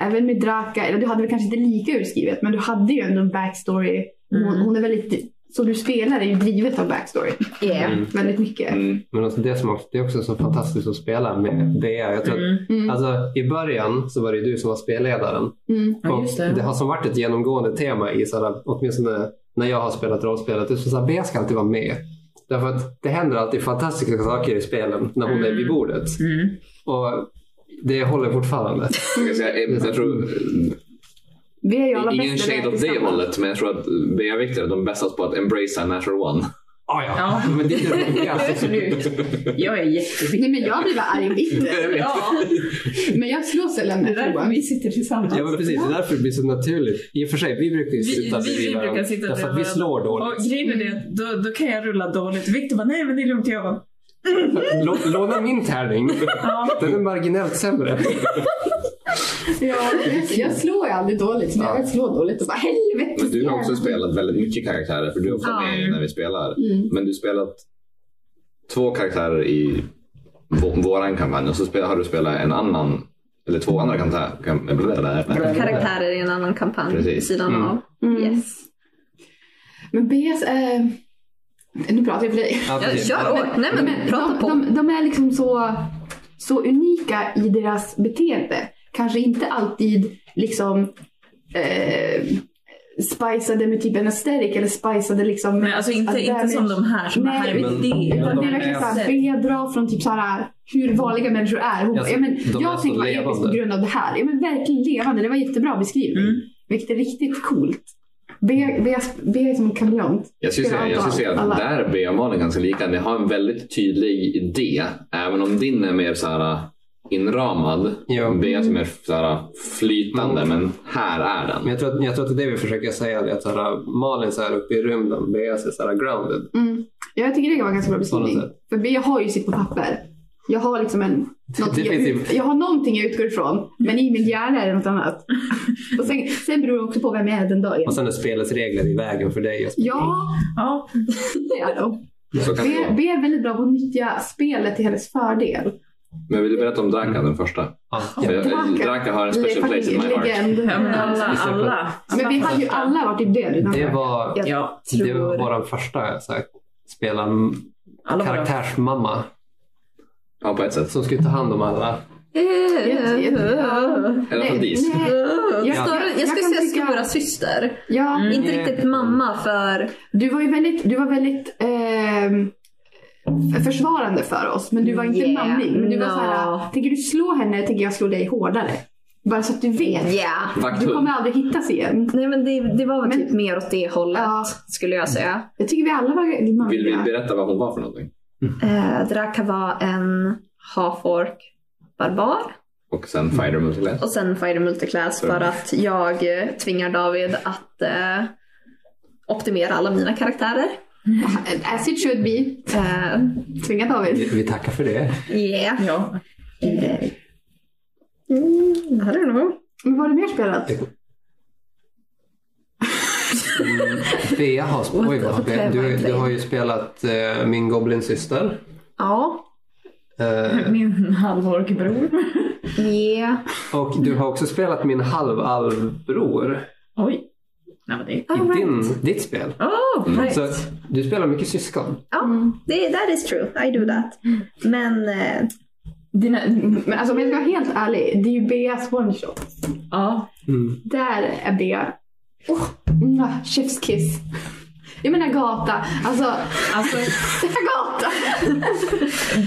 S1: även med Draka, eller du hade väl kanske inte lika urskrivet, men du hade ju ändå en backstory. Hon,
S2: Mm.
S1: hon är väldigt, så du spelar är ju drivet av backstory.
S5: Yeah.
S4: Mm.
S1: Väldigt mycket.
S3: Mm.
S4: Men alltså det, som också, det är också så fantastiskt att spela med Bea. Jag tror att,
S2: Mm.
S1: Mm.
S4: alltså, I början så var det ju du som var spelledaren.
S1: Mm.
S2: Ja,
S4: Och
S2: just
S4: det
S2: det.
S4: har som varit ett genomgående tema i sådär, åtminstone när jag har spelat rollspel. Att det är så här, Bea ska alltid vara med. Därför att det händer alltid fantastiska saker i spelen när hon är vid
S2: Mm.
S4: bordet.
S2: Mm.
S4: Och det håller fortfarande.
S3: Jag, kan säga, jag, jag tror,
S1: Vi är ju alla
S3: ingen
S1: bästa
S3: shade
S1: vänner
S3: åt det
S1: tillsammans.
S3: hållet, men jag tror att Bea och Victor är de bästa på att embracea natural one.
S4: Ah, ja.
S2: Ja.
S4: Men det är det roligaste.
S2: Jag är jättebitter.
S1: Nej men jag blir bara arg och bitter.
S2: Ja,
S1: Men jag slåss eller
S2: det
S1: med
S2: är därför
S1: Johan.
S2: vi sitter tillsammans.
S4: Ja, men precis. Det är därför det blir så naturligt. I och för sig, vi brukar ju
S2: Vi-
S4: sitta
S2: vi- vi
S4: bredvid
S2: brukar
S4: varandra.
S2: sitta
S4: Därför att vi
S2: bredvid
S4: slår
S2: Och
S4: dåligt.
S2: grejen är det att då, då kan jag rulla dåligt. Viktor bara, nej men det är lugnt. Jag bara,
S4: Lå- Låna min tärning.
S2: ja.
S4: Den är marginellt sämre.
S1: Ja, jag slår ju aldrig dåligt, men
S4: Ja.
S1: jag slår dåligt och bara helvete.
S3: Men du har också spelat väldigt mycket karaktärer, för du är ofta
S5: Ja.
S3: med när vi spelar.
S1: Mm.
S3: Men du har spelat två karaktärer i vå- våran kampanj och så spel- har du spelat en annan, eller två andra karaktärer. Kam- blablabla.
S5: Karaktärer i en annan kampanj
S3: Precis.
S5: vid sidan
S4: Mm.
S5: av.
S1: Mm.
S5: Yes.
S1: Men BS, eh, nu pratar jag för dig.
S4: Ja,
S5: Ja,
S4: precis. Mm.
S5: kör hårt. Nej men, prata
S1: de,
S5: på.
S1: de, de är liksom så, så unika i deras beteende. Kanske inte alltid liksom eh, spicade med typ en aesthetic eller spicade liksom
S2: Men alltså inte,
S1: att
S2: inte
S1: damage.
S2: som de här som
S1: Nej.
S2: är här med
S4: Men-
S2: det.
S1: Utan
S4: de
S1: det är verkligen
S4: är-
S1: såhär vedra från typ såhär hur vanliga människor är. Hon,
S4: Alltså,
S1: ja, men,
S4: de är
S1: jag
S4: så
S1: tänker vara episk på
S4: levande.
S1: grund av det här. Ja, men verkligen levande. Det var jättebra beskrivning.
S2: Mm.
S1: Vilket är riktigt coolt. Be, be, be är som en kameleont.
S3: Jag skulle säga, jag skulle säga att
S1: Alla.
S3: där Bea och Malin ganska lika. Ni har en väldigt tydlig idé, även om din är mer så här äh, inramad.
S4: Ja.
S3: Beas är mer så här äh, flytande, men här är
S4: Men
S3: den.
S4: jag tror, att, jag tror att det är det vi försöker säga. Det är att så här, Malin så här uppe i rymden, Bea så här grounded.
S1: Mm. Ja, jag tycker det var en ganska bra
S4: På något
S1: beskrivning.
S4: sätt.
S1: För jag har ju sitt på papper. Jag har liksom en... Någonting jag,
S4: finns ju-
S1: ut, jag har någonting jag utgår ifrån, men i min hjärna är det något annat. Och sen, sen beror det också på vem jag är den dagen.
S4: Och sen är spelets regler i vägen för dig.
S1: Ja,
S2: Ja.
S1: det är de.
S3: Så kan det
S1: B,
S3: vara.
S1: B är väldigt bra på att nyttja spelet till hennes fördel.
S3: Men vill du berätta om Draka, den första?
S4: Ja.
S3: För jag-
S1: Draka.
S3: Draka har en
S1: Vi är
S3: special place in
S1: fucking
S3: my heart.
S1: legend.
S2: Ja, men alla, alla.
S1: Men vi hade ju alla varit typ död innan.
S4: Det var,
S2: Ja,
S4: det var vår första så här, spelar,
S2: alla var
S4: karaktärsmamma
S3: Ja, på ett sätt.
S4: som skulle ta hand om alla.
S1: Jätte- jätte- ja.
S3: Eller
S1: Nej,
S3: fadis.
S1: nej.
S5: Jag,
S1: Ja.
S5: snarare, jag
S1: Jag
S5: skulle
S1: kan
S5: säga
S1: tycka-
S5: stora syster.
S1: Ja,
S2: Mm.
S5: Inte riktigt mamma för...
S1: Du var ju väldigt, du var väldigt ehm, försvarande för oss. Men du var inte
S5: Yeah,
S1: manlig. Men du var
S5: no.
S1: såhär, tänker du slå henne tänker jag slå dig hårdare. Bara så att du vet.
S5: Yeah.
S1: Du
S3: Vakthund.
S1: kommer aldrig hittas igen.
S5: Nej men det, det var väl
S1: Men-
S5: typ mer åt det hållet
S1: Ja.
S5: skulle jag säga.
S1: Jag tycker vi alla var
S3: Vill vi
S1: manliga.
S3: berätta vad hon var för någonting?
S5: Eh, Draka var en half-ork barbar.
S3: Och sen Fighter Multilet.
S5: Och sen Fighter Multiclass för att jag eh, tvingar David att eh, optimera alla mina karaktärer.
S1: As it should be.
S5: Eh,
S1: Tvinga David.
S4: Vi, vi tackar för det.
S5: yeah.
S2: Ja.
S5: Eh, mm, I don't know.
S1: Men vad har du mer spelat?
S4: Mm, Bea har, oj, vad har Bea, du, du har ju spelat eh, min Goblin-syster.
S5: Ja.
S4: Eh,
S2: Min halvorkbror.
S5: Yeah.
S4: och du har också spelat min halvalvbror
S2: Oj. Nej men det...
S4: i
S5: All right.
S4: din, ditt spel.
S2: Oh, right.
S4: Så att du spelar mycket syskon.
S5: Ja, det, that is true. I do that. Men eh,
S2: Dina...
S1: Men alltså om jag ska vara helt ärlig, det är ju Beas one shot.
S2: Ja.
S4: Mm.
S1: Där är det. Oh, mm, chef's kiss. Jag menar gata. Alltså,
S2: Alltså,
S1: det är gata.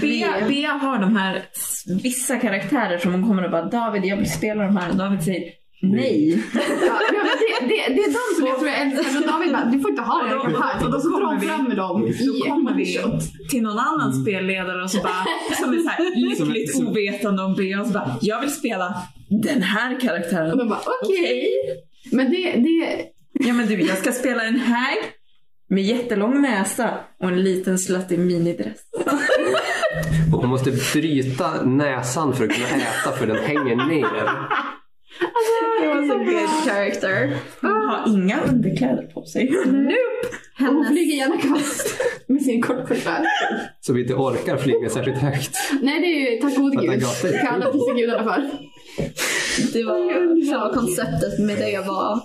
S2: Bea, Bea har de här s- vissa karaktärer som hon kommer och bara David jag vill spela de här och David säger nej.
S1: Ja, men det, det, det är de som jag tror jag älskar. Och David bara, du får inte ha det
S2: Och då-
S1: här.
S2: och
S1: Och
S2: då
S1: då så drar
S2: kommer
S1: de
S2: vi-
S1: fram med dem
S2: Så
S1: i
S2: kommer vi
S1: one-shot.
S2: till någon annan spelledare och så bara, som är så här lyckligt
S4: Som- som-
S2: ovetande om Bea och så bara jag vill spela den här
S1: Och
S2: karaktären.
S1: de bara, okej. Men det, det,
S2: Ja men du jag ska spela en hag med jättelång näsa och en liten slutty minidress.
S4: Och hon måste bryta näsan för att kunna äta för den hänger ner.
S5: It was a good character.
S2: Hon har inga underkläder på sig.
S1: och hon
S5: Hennes,
S1: flyger gärna kast med sin kortkorta.
S4: Som inte orkar flyga särskilt högt.
S1: Nej, det är ju tack gode
S4: Fattar
S1: gud.
S4: gata.
S1: Det kan alla prisa gudarna för.
S5: det var själva konceptet med det var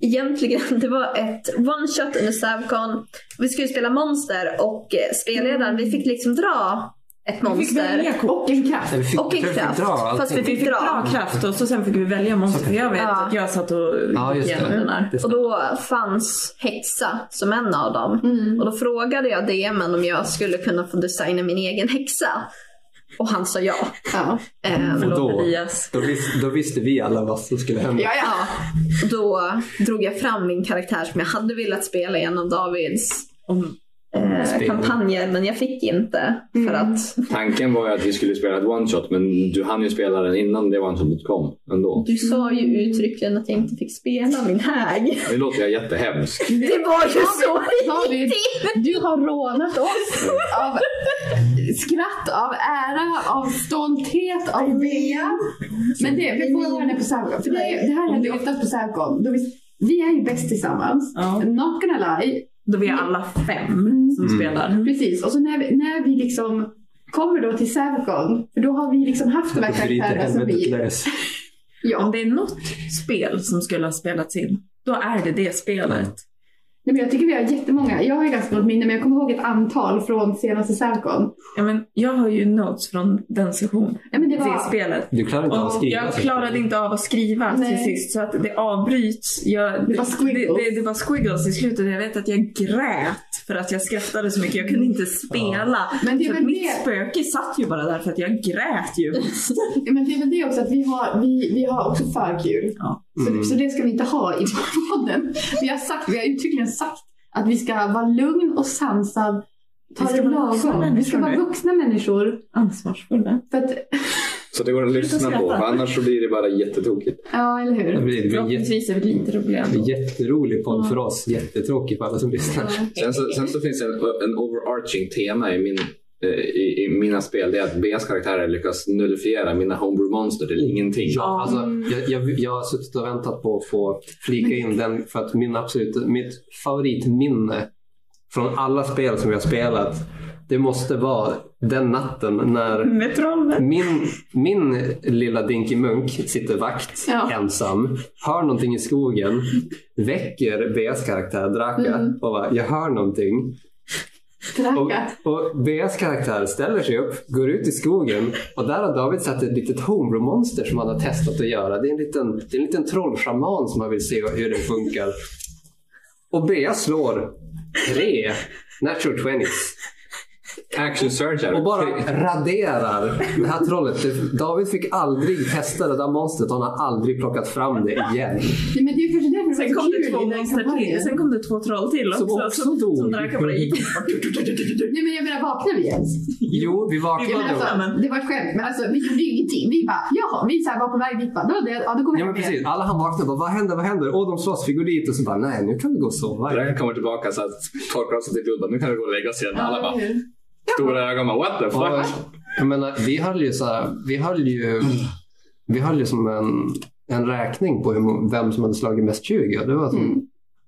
S5: egentligen, det var ett one shot under Savcon. Vi skulle spela monster och eh, spelledaren, vi fick liksom dra ett
S2: Vi fick
S5: monster.
S2: välja kort.
S1: Och en kraft.
S4: Eller fick,
S5: Och en
S4: tror jag
S5: kraft,
S4: Fick dra
S5: fast
S4: allting.
S5: vi
S2: Vi fick dra kraft och så sen fick vi välja monster. För jag vet
S5: Ja.
S2: att jag satt och
S4: Ja, just det.
S2: den där.
S4: Det är sant.
S5: Och då fanns häxa som en av dem.
S1: Mm.
S5: Och då frågade jag DMen om jag skulle kunna få designa min egen häxa. Och han sa ja.
S1: Ja.
S5: Ehm,
S4: Och
S2: Förlåt
S4: då-
S2: Elias.
S4: Då, vis, då visste vi alla vad som skulle hända.
S1: Ja, ja.
S5: Ja, då drog jag fram min karaktär som jag hade velat spela i en av Davids
S2: Om-
S5: eh,
S4: Spel.
S5: kampanjer men jag fick inte för
S1: Mm.
S5: att
S3: Tanken var ju att vi skulle spela ett one-shot men du hann ju spela den innan det one-shotet kom ändå.
S5: du sa ju uttryckligen att jag inte fick spela min häg.
S3: Nu låter jag jättehemsk.
S5: Det var ju så!
S1: David, du har rånat oss av skratt, av ära, av stolthet, av bea. Men det, vi får ha henne på Savcon. För det, det här händer ju oftast på Savcon. Då Vi, vi är ju bäst tillsammans.
S2: Ja.
S1: Not gonna lie.
S2: Då vi är alla fem som
S4: Mm.
S2: spelar.
S1: Precis, och så när vi, när vi liksom kommer då till Savcon, för då har vi liksom haft de här
S4: Då bryter
S1: karaktärerna som
S4: helvetet
S1: vi...
S4: lös.
S2: Om
S1: Ja.
S2: det är något spel som skulle ha spelats in, då är det det spelet.
S1: Nej, men jag tycker vi har jättemånga. Jag har ju ganska dåligt minne, men jag kommer ihåg ett antal från senaste Savcon.
S2: Ja, men jag har ju notes från den sessionen.
S1: Ja, men det
S2: Det
S1: var...
S2: spelet.
S4: Du klarar inte av
S2: Och
S4: att skriva.
S2: jag
S4: så.
S2: klarade inte av att skriva
S1: Nej.
S2: till sist så att det avbryts. Jag,
S1: Det var squiggles.
S2: Det, det, det var squiggles i slutet. Jag vet att jag grät för att jag skrattade så mycket. Jag kunde inte spela.
S1: Men det är
S2: Så att
S1: väl
S2: mitt
S1: det-
S2: spöke satt ju bara där för att jag grät ju.
S1: Ja, men det är väl det också att vi har, vi, vi har också för kul.
S2: Ja.
S4: Mm.
S1: Så, så det ska vi inte ha i podden. Vi har sagt, vi har uttryckligen sagt att vi ska vara lugn och sansad. Ta
S2: Vi ska
S1: det
S2: vara vuxna
S1: lagom. Vi ska
S2: människor
S1: vara
S2: nu.
S1: vuxna människor.
S2: Ansvarsfulla.
S1: För att,
S3: Så det går att lyssna på för annars så blir det bara jättetokigt.
S1: ja, eller
S4: Det
S1: hur?
S4: blir det blir en jätte,
S2: Förhoppningsvis är vi lite roliga. ändå.
S4: jätterolig podd för oss. Jättetråkig för alla som lyssnar.
S3: Sen så, sen så finns det en, en overarching tema i, min, eh, i, i mina spel. Det är att Beas karaktärer lyckas nullifiera mina homebrew monster till ingenting.
S4: Ja, alltså, jag, jag, jag har suttit och väntat på att få flika in den för att min absolut, mitt favoritminne från alla spel som jag spelat det måste vara den natten när
S2: Med trollen.
S4: min, min lilla Dinky Munk sitter vakt
S1: Ja.
S4: ensam, hör någonting i skogen, väcker Beas karaktär Draka och bara “jag hör någonting” Och,
S1: Tracka.
S4: och Beas karaktär ställer sig upp, går ut i skogen och där har David satt ett litet homebrew-monster som han har testat att göra. Det är en liten, det är en liten trollschaman som han vill se hur den funkar. Och Bea slår tre natural 20s
S3: Action surge
S4: och bara raderar det här trollet. Det- David fick aldrig testa det där monstret och han har aldrig plocockat fram det igen.
S1: Nej, men det är kanske därför det var så kul
S2: Sen kom det två
S1: i den
S2: monster
S1: kampanjen.
S2: till. Sen kom det två troll till också.
S4: Som också
S2: som,
S4: dog.
S2: Som drack och bara gick.
S1: Nej men jag menar vaknar vi ens?
S4: Jo, vi
S2: Vi
S1: Jag
S4: vaknade
S1: menar,
S4: då.
S2: vaknade.
S1: alltså, det var ett skämt men alltså vi gjorde ju ingenting. Vi bara jaha, vi så här var på väg dit bara, då, det, ja, då går vi
S4: Ja, men
S1: hem igen.
S4: precis. Alla han vaknade bara, vad händer, vad händer? Åh, de slåss, vi går dit. Och så bara, nej, nu kan vi gå och sova.
S3: Dragan kommer tillbaka så att torkar av sig till blod. Nu kan vi gå och lägga oss igen. Alla
S1: Ja,
S3: bara
S1: eller hur?
S3: stora ögon. Bara, What the
S4: Och,
S3: fuck?
S4: jag menar, vi höll ju så här, vi höll ju, vi höll ju som en, en räkning på hur, mo- vem som hade slagit mest 20. Det var som
S1: Mm.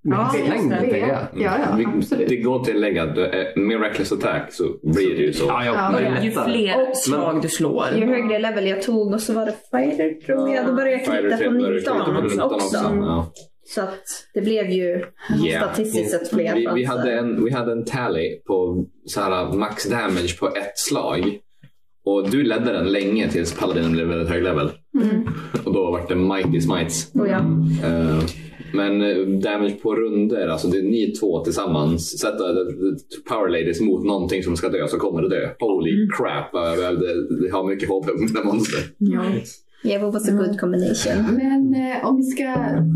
S2: Ja,
S4: mest
S2: just
S4: längd
S2: det.
S4: på det.
S1: Ja, ja,
S3: Mm. Vi-
S1: absolut.
S3: Det går att tillägga att eh, med reckless attack så blir det ju så.
S4: Ja, ja,
S1: Ja,
S4: det
S1: men
S4: är
S2: Ju
S4: lättare.
S2: fler
S5: Och-
S2: slag du slår.
S5: Ju högre level jag tog och så var det fighter tror jag. Då började jag knyta på 19 också.
S3: Ja.
S5: Så att det blev ju
S3: Yeah.
S5: statistiskt sett fler eh,
S3: Vi, vi,
S5: chanser.
S3: uh, hade en, vi hade en tally på så här, max damage på ett slag. Och du ledde den länge tills paladinen blev väldigt hög level. Och då var det mighty smites.
S5: Mm. Oh, ja.
S3: Eh, men eh, damage på runder, alltså det är ni två tillsammans. Sätt eh, power ladies mot någonting som ska dö så kommer det dö. Holy
S5: Mm.
S3: crap, vad jag behövde- jag har mycket HP på mina monster.
S2: Ja.
S5: Yeah, was a good combination.
S1: Men eh, om vi ska...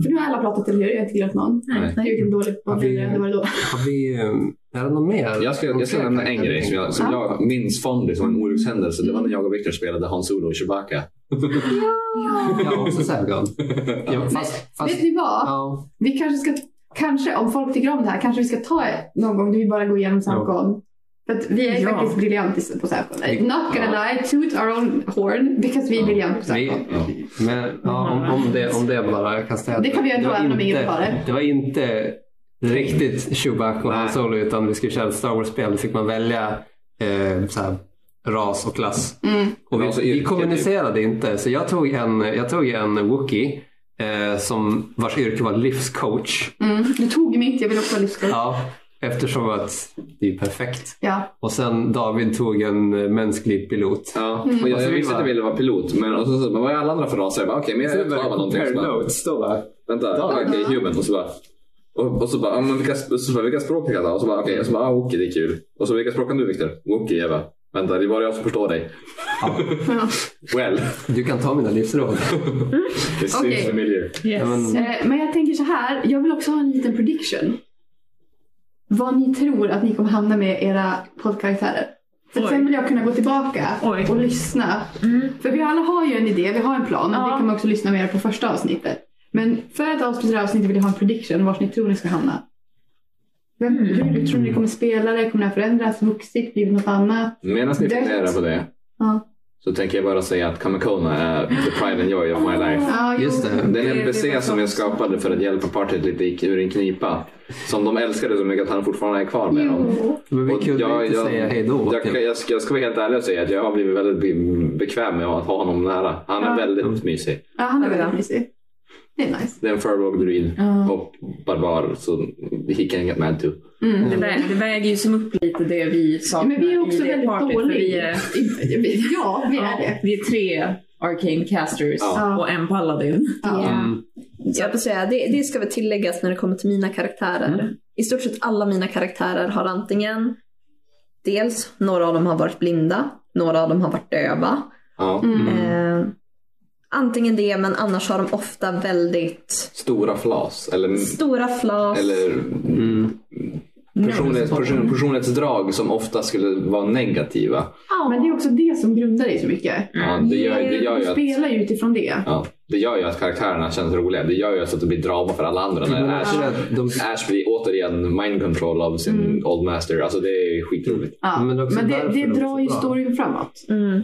S1: För nu har alla pratat, eller hur? Jag har inte glömt någon.
S3: Nej.
S1: Jag har gjort en dålig
S4: Ja, vi-
S1: det var det då.
S4: Har vi, ehm, är det något mer?
S3: Jag ska, jag ska nämna en grej som jag, som jag minns fondigt som en olyckshändelse. Det var när jag och Victor spelade Han Solo och Chewbacca.
S4: Jag har också särgon. Ja, fast, fast,
S1: Vet ni vad?
S4: ja,
S1: Vi kanske ska... Kanske, om folk tycker om det här, kanske vi ska ta någon gång då vi bara går igenom Sarkon. För att vi är
S2: Ja.
S1: faktiskt briljanta på Sarkon.
S4: Vi-
S1: Not gonna lie, toot our own horn. Because vi är briljanta på
S4: vi,
S1: Sarkon.
S4: men, ja, om, om, det, om det bara. Jag kan säga att
S1: Mm. Det kan vi göra då,
S4: var
S1: även om
S4: inte-
S1: ingen tar det.
S4: Det var inte riktigt Chewbacca och Han
S3: Nej.
S4: Solo utan vi skulle köra ett Star Wars-spel. Då fick man välja eh, så här, ras och klass.
S1: Mm.
S4: Och
S3: Alltså,
S4: vi, vi
S3: yrke,
S4: kommunicerade inte så jag tog en, jag tog en wookie eh, som vars yrke var livscoach.
S1: Mm. Du tog mitt, jag vill också ha livskurs.
S4: Ja, eftersom att det är perfekt.
S1: Ja.
S4: Och sen David tog en eh, mänsklig pilot.
S3: Ja, och jag,
S1: Mm.
S3: jag visste att jag ville vara pilot. Men och så, så, men vad är alla andra för raser? Jag bara, Okej, men jag vill vara någonting. Så bara,
S4: notes då va?
S3: Vänta,
S4: Ja.
S3: okej, human. Och så bara, och, och så bara, ja, men vilka, och så bara vilka språk kan jag ta? Och så bara, okej, och så bara, ah, okej, det är kul. Och så vilka språk kan du Viktor? Okej, jag bara, vänta, det är bara jag som förstår dig. well,
S4: Du kan ta mina livsråd.
S3: it seems
S1: Okej.
S3: familiar.
S4: Ja,
S2: Yes.
S4: men,
S1: Eh, Men jag tänker så här, jag vill också ha en liten prediction. Vad ni tror att ni kommer hamna med era poddkaraktärer. För
S2: Oj.
S1: sen vill jag kunna gå tillbaka
S2: Oj.
S1: och lyssna.
S2: Mm.
S1: För vi alla har ju en idé, vi har en plan.
S2: Ja.
S1: Det kan man också lyssna mer på första avsnittet. Men för ett avsnitt avsnitt vill jag ha en prediction vart ni tror ni ska hamna. Vem,
S2: Mm.
S1: Hur tror ni kommer spela det? Kommer det här förändras? Vuxit? Blir det något annat?
S3: Medan ni
S1: Det-
S3: funderar på det
S1: Ja.
S3: så tänker jag bara säga att Kamakona är the pride and joy of my life.
S1: Ja, Ah, jo.
S4: just det.
S3: Den
S2: Det- det var
S3: NPC som jag skapade för att hjälpa partiet lite i- ur en knipa. Som de älskade så mycket att han fortfarande är kvar med dem.
S1: Jo.
S4: Men vi
S3: Och
S4: kunde
S3: jag-
S4: inte
S3: jag-
S4: säga typ. hej då.
S3: Jag, jag, jag, ska, jag ska vara helt ärlig och säga att jag har blivit väldigt be- bekväm med att ha honom nära. Han är
S1: Ja.
S4: Mm.
S3: väldigt mysig.
S1: Ja, han är
S2: Ja,
S1: väldigt
S2: ja.
S1: mysig. Det är nice.
S3: Det är en furlong druid
S2: Ja.
S3: och barbar så he can get mad too.
S1: Mm.
S2: Det, vä- det väger ju som upp lite det vi saknar
S1: Men vi är också
S2: i det
S1: väldigt
S2: partyt, för
S1: dåliga.
S2: Vi är,
S1: Ja, vi är det.
S2: vi är tre arcane casters
S3: Ja.
S2: och en paladin.
S1: Ja.
S4: Mm.
S5: Jag vill säga, det, det ska väl tilläggas när det kommer till mina karaktärer.
S1: Mm.
S5: I stort sett alla mina karaktärer har antingen, dels några av dem har varit blinda, några av dem har varit döva.
S3: Ja.
S1: Mm.
S5: Eh, antingen det, men annars har de ofta väldigt
S3: Stora flas eller,
S5: stora flas.
S3: eller
S4: Mm.
S3: personlighets, person, personlighetsdrag som ofta skulle vara negativa.
S5: Ja,
S1: Men det är också det som grundar dig så mycket.
S3: Ja, det, gör, det, gör
S1: du
S3: ju att,
S1: spelar ju utifrån det.
S3: ja, det gör ju att karaktärerna känns roliga. Det gör ju så att det blir drama för alla andra. När
S4: Men
S3: Ash
S4: också att de-
S3: Ash blir återigen mind control av sin
S1: Mm.
S3: old master. Alltså det är skitroligt.
S1: Ja.
S4: Men det är
S1: Men
S4: också
S1: det,
S4: därför
S1: det
S4: de är
S1: drar
S4: så
S1: ju
S4: bra.
S1: storyn framåt.
S5: Mm,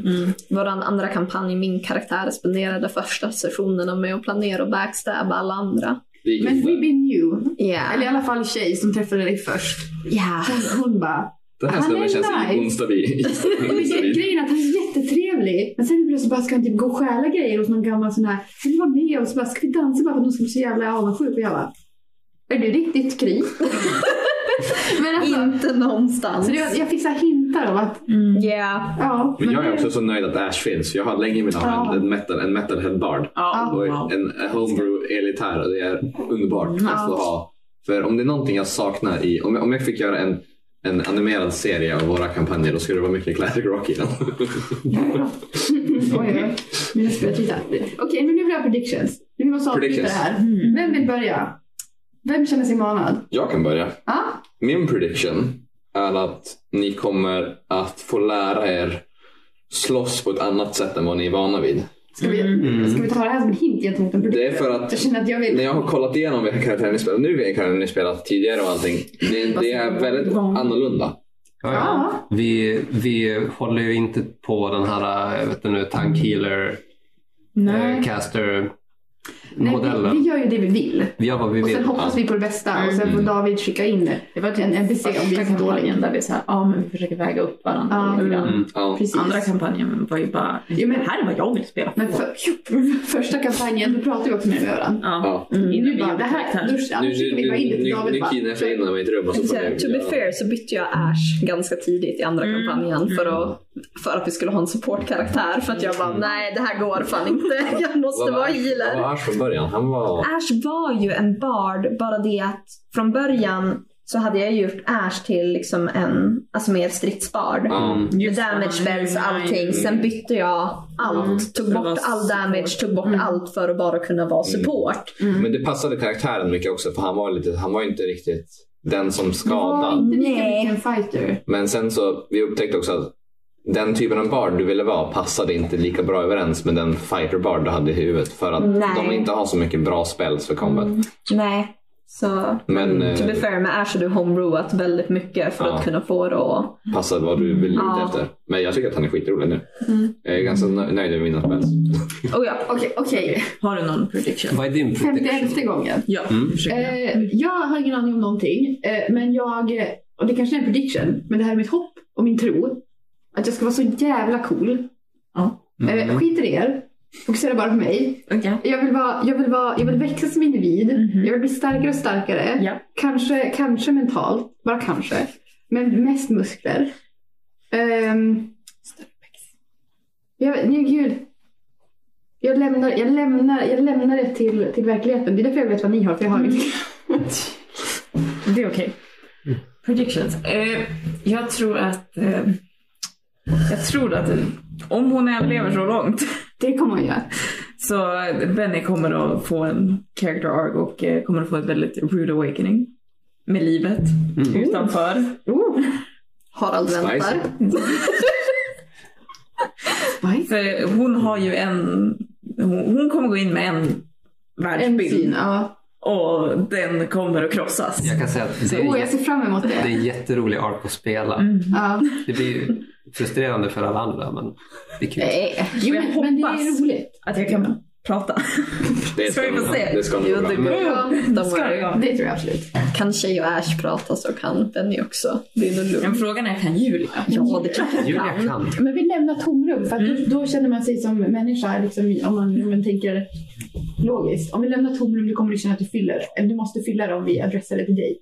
S5: Våran andra kampanj, min karaktär, spenderade första sessionerna med att planera och backstabba alla andra.
S3: Det gick
S1: Men
S3: inte.
S1: we been new.
S5: Yeah.
S1: Eller i alla fall tjej som träffade dig först.
S5: yeah.
S1: Hon- Hon bara...
S3: Den här
S1: Han
S3: snubben
S1: är
S3: känns
S1: nice.
S3: instabil.
S1: Men gre- Grejen är att han är jättetrevlig. Men sen plötsligt bara ska han typ gå och stjäla grejer hos någon gammal sån här. Vill du vara med? Och så bara, ska vi dansa bara för att någon ska bli så jävla avundsjuk? Och jag bara, är du riktigt kry? men alltså,
S5: Inte någonstans. Mm.
S1: så det, var- jag fick så här hintar om att,
S5: Yeah.
S1: ja.
S3: Men jag är
S1: det-
S3: också så nöjd att Ash finns. Jag har länge i mina hand
S1: Ja.
S3: en, metal, en metalhead bard.
S2: Ja,
S3: Och
S2: wow.
S3: en en homebrew elitär. Och det är underbart
S1: Ja.
S3: att få ha. För om det är någonting jag saknar i... Om jag, om jag fick göra en, en animerad serie av våra kampanjer då skulle det vara mycket Classic Rock i den.
S1: Oj, oj.
S3: Mm.
S1: Mina speltitlar. Okej, men nu vill jag ha predictions. Vi måste avsluta det
S3: Predictions.
S1: här.
S2: Mm.
S1: Vem vill börja? Vem känner sig manad?
S3: jag kan börja.
S1: Ja?
S3: Min prediction är att ni kommer att få lära er slåss på ett annat sätt än vad ni är vana vid.
S1: Ska,
S2: Mm.
S1: vi, ska vi ta det här som en hint gentemot en prediction?
S3: Mm. Det är för att-
S1: Jag känner att jag vill...
S3: När jag har kollat igenom vilka karaktärer ni spelar nu, vilka karaktärer ni spelat tidigare och allting. Det, det är väldigt annorlunda.
S4: Ja, ja.
S1: Ja.
S4: Vi, vi håller ju inte på den här jag vet du nu, tank healer eh,
S2: Nej.
S4: caster
S1: Nej,
S4: modellen.
S1: vi, vi gör ju det vi vill.
S4: Vi gör vad vi
S1: Och
S4: vill.
S1: sen hoppas vi på det bästa och sen
S3: Mm.
S1: får David skicka in
S2: Det var
S1: en
S2: typ
S1: NPC om vi
S2: första
S1: är så dåliga.
S2: kampanjen där vi så här, ja men vi försöker väga upp varandra
S1: Ja.
S2: lite grann.
S4: Mm.
S3: Ja.
S1: Precis.
S2: Andra kampanjen var ju bara,
S1: Jo, men-
S2: det här är vad jag vill spela.
S1: Men för, första kampanjen, då pratade vi också med varandra.
S2: ja.
S3: Ja.
S2: Mm.
S1: Nu
S2: Innan vi
S1: bara, det här...
S2: här.
S1: Nu
S3: Nu,
S1: skickar
S3: nu,
S1: vi bara in det
S3: nu,
S1: till
S3: nu,
S1: David.
S3: nu
S1: bara,
S3: kidnappar jag in mig i ett rum och så
S5: Så
S3: får
S5: här,
S3: ni...
S5: to be fair så bytte jag Ash ganska tidigt i andra
S2: Mm.
S5: kampanjen för att för att vi skulle ha en supportkaraktär. För att jag bara, nej det här går fan inte. Jag måste vara healer.
S3: Mm. Vad var Ash från början? Han
S1: Ah.
S3: var...
S5: Ash var ju en bard, bara det att från början så hade jag gjort Ash till liksom en, alltså mer stridsbard.
S3: Ja.
S5: Med
S2: Just det,
S5: damage
S2: han är
S5: spells,
S2: ju
S5: allting.
S2: nine.
S5: Sen bytte jag allt.
S2: Mm.
S5: Tog
S2: Det
S5: bort
S2: var
S5: all
S2: support.
S5: damage, tog bort
S2: Mm.
S5: allt för att bara kunna vara
S3: Mm.
S5: support.
S1: Mm.
S3: Men det passade karaktären mycket också för han var, lite, han var ju inte riktigt den som skadade.
S1: inte lika
S5: Nej.
S1: mycket en fighter.
S3: Men sen så, vi upptäckte också att den typen av bard du ville vara passade inte lika bra överens med den fighter bard du hade i huvudet. För att
S5: Nej.
S3: de inte har så mycket bra spells för combat.
S5: Nej. Så
S3: Men,
S5: Mm. to be
S3: eh,
S5: fair med Ash har du homebrewat väldigt mycket för
S3: Ja.
S5: att kunna få det att...
S3: Passade vad du vill
S5: Ja.
S3: ut efter. Men jag tycker att han är skitrolig nu.
S5: Mm.
S3: Jag är ganska nö- nöjd med mina spells.
S5: Oh, ja.
S1: Okej, okej.
S2: Har du någon prediction?
S4: Vad är din prediction?
S1: 51 gången.
S2: Ja,
S4: Mm.
S2: försöker jag.
S1: Eh, jag har ingen aning om någonting. Eh, men jag, eh, och det kanske är en prediction, men det här är mitt hopp och min tro. Att jag ska vara så jävla cool.
S2: Ja.
S1: Eh,
S4: Mm.
S1: skit i er. Fokusera bara på mig.
S2: Okej.
S1: Jag vill, vara, jag vill, vara, jag vill växa som individ.
S2: Mhm.
S1: Jag vill bli starkare och starkare.
S2: Ja.
S1: Kanske, kanske mentalt, bara kanske. Men mest muskler. Um, jag, nej, gud. Jag lämnar, jag lämnar, jag lämnar det till, till verkligheten. Det är därför jag vet vad ni har, för jag har
S2: Mm.
S1: inget.
S2: Det är okej.
S4: Mm.
S2: Predictions. Eh, jag tror att... Eh, jag tror att om hon överlever så långt
S1: Det kommer jag göra.
S2: så eh, Benny kommer att få en character arc och eh, kommer att få ett väldigt rude awakening. Med livet
S4: Mm.
S2: utanför.
S1: Oh,
S5: Harald
S3: Spicy.
S5: väntar.
S1: spice.
S2: För hon har ju en... Hon, hon kommer gå in med en
S1: En
S2: världsbild.
S1: syn, ja.
S2: Och den kommer att krossas.
S4: Jag kan säga att det
S1: Oh,
S4: är,
S1: jag ser fram emot
S4: det är
S1: det.
S4: en jätterolig ark att spela.
S2: Mm.
S1: Ja.
S4: Det blir ju frustrerande för alla andra men det är kul.
S5: Nej.
S1: Jo,
S2: Jag
S1: men, men det
S2: hoppas.
S1: är roligt.
S2: Att jag kan prata.
S3: Det
S2: Ska vi få se?
S3: Det ska nog
S5: Jo,
S3: gå bra.
S5: det går.
S1: Ja,
S5: De
S2: Ska det
S5: är,
S2: gå?
S1: det tror jag absolut.
S5: kanske jag och Ash pratar så kan Benny också. Det är nog
S2: Men
S5: lugnt.
S2: frågan är, kan Julia?
S5: Ja, det kan jag.
S4: Julia kan.
S1: Men vi lämnar tomrum för att då, då känner man sig som människa, liksom, om, man, om man tänker logiskt. Om vi lämnar tomrum då kommer du känna att du fyller. Eller du måste fylla det om vi adressar det till dig.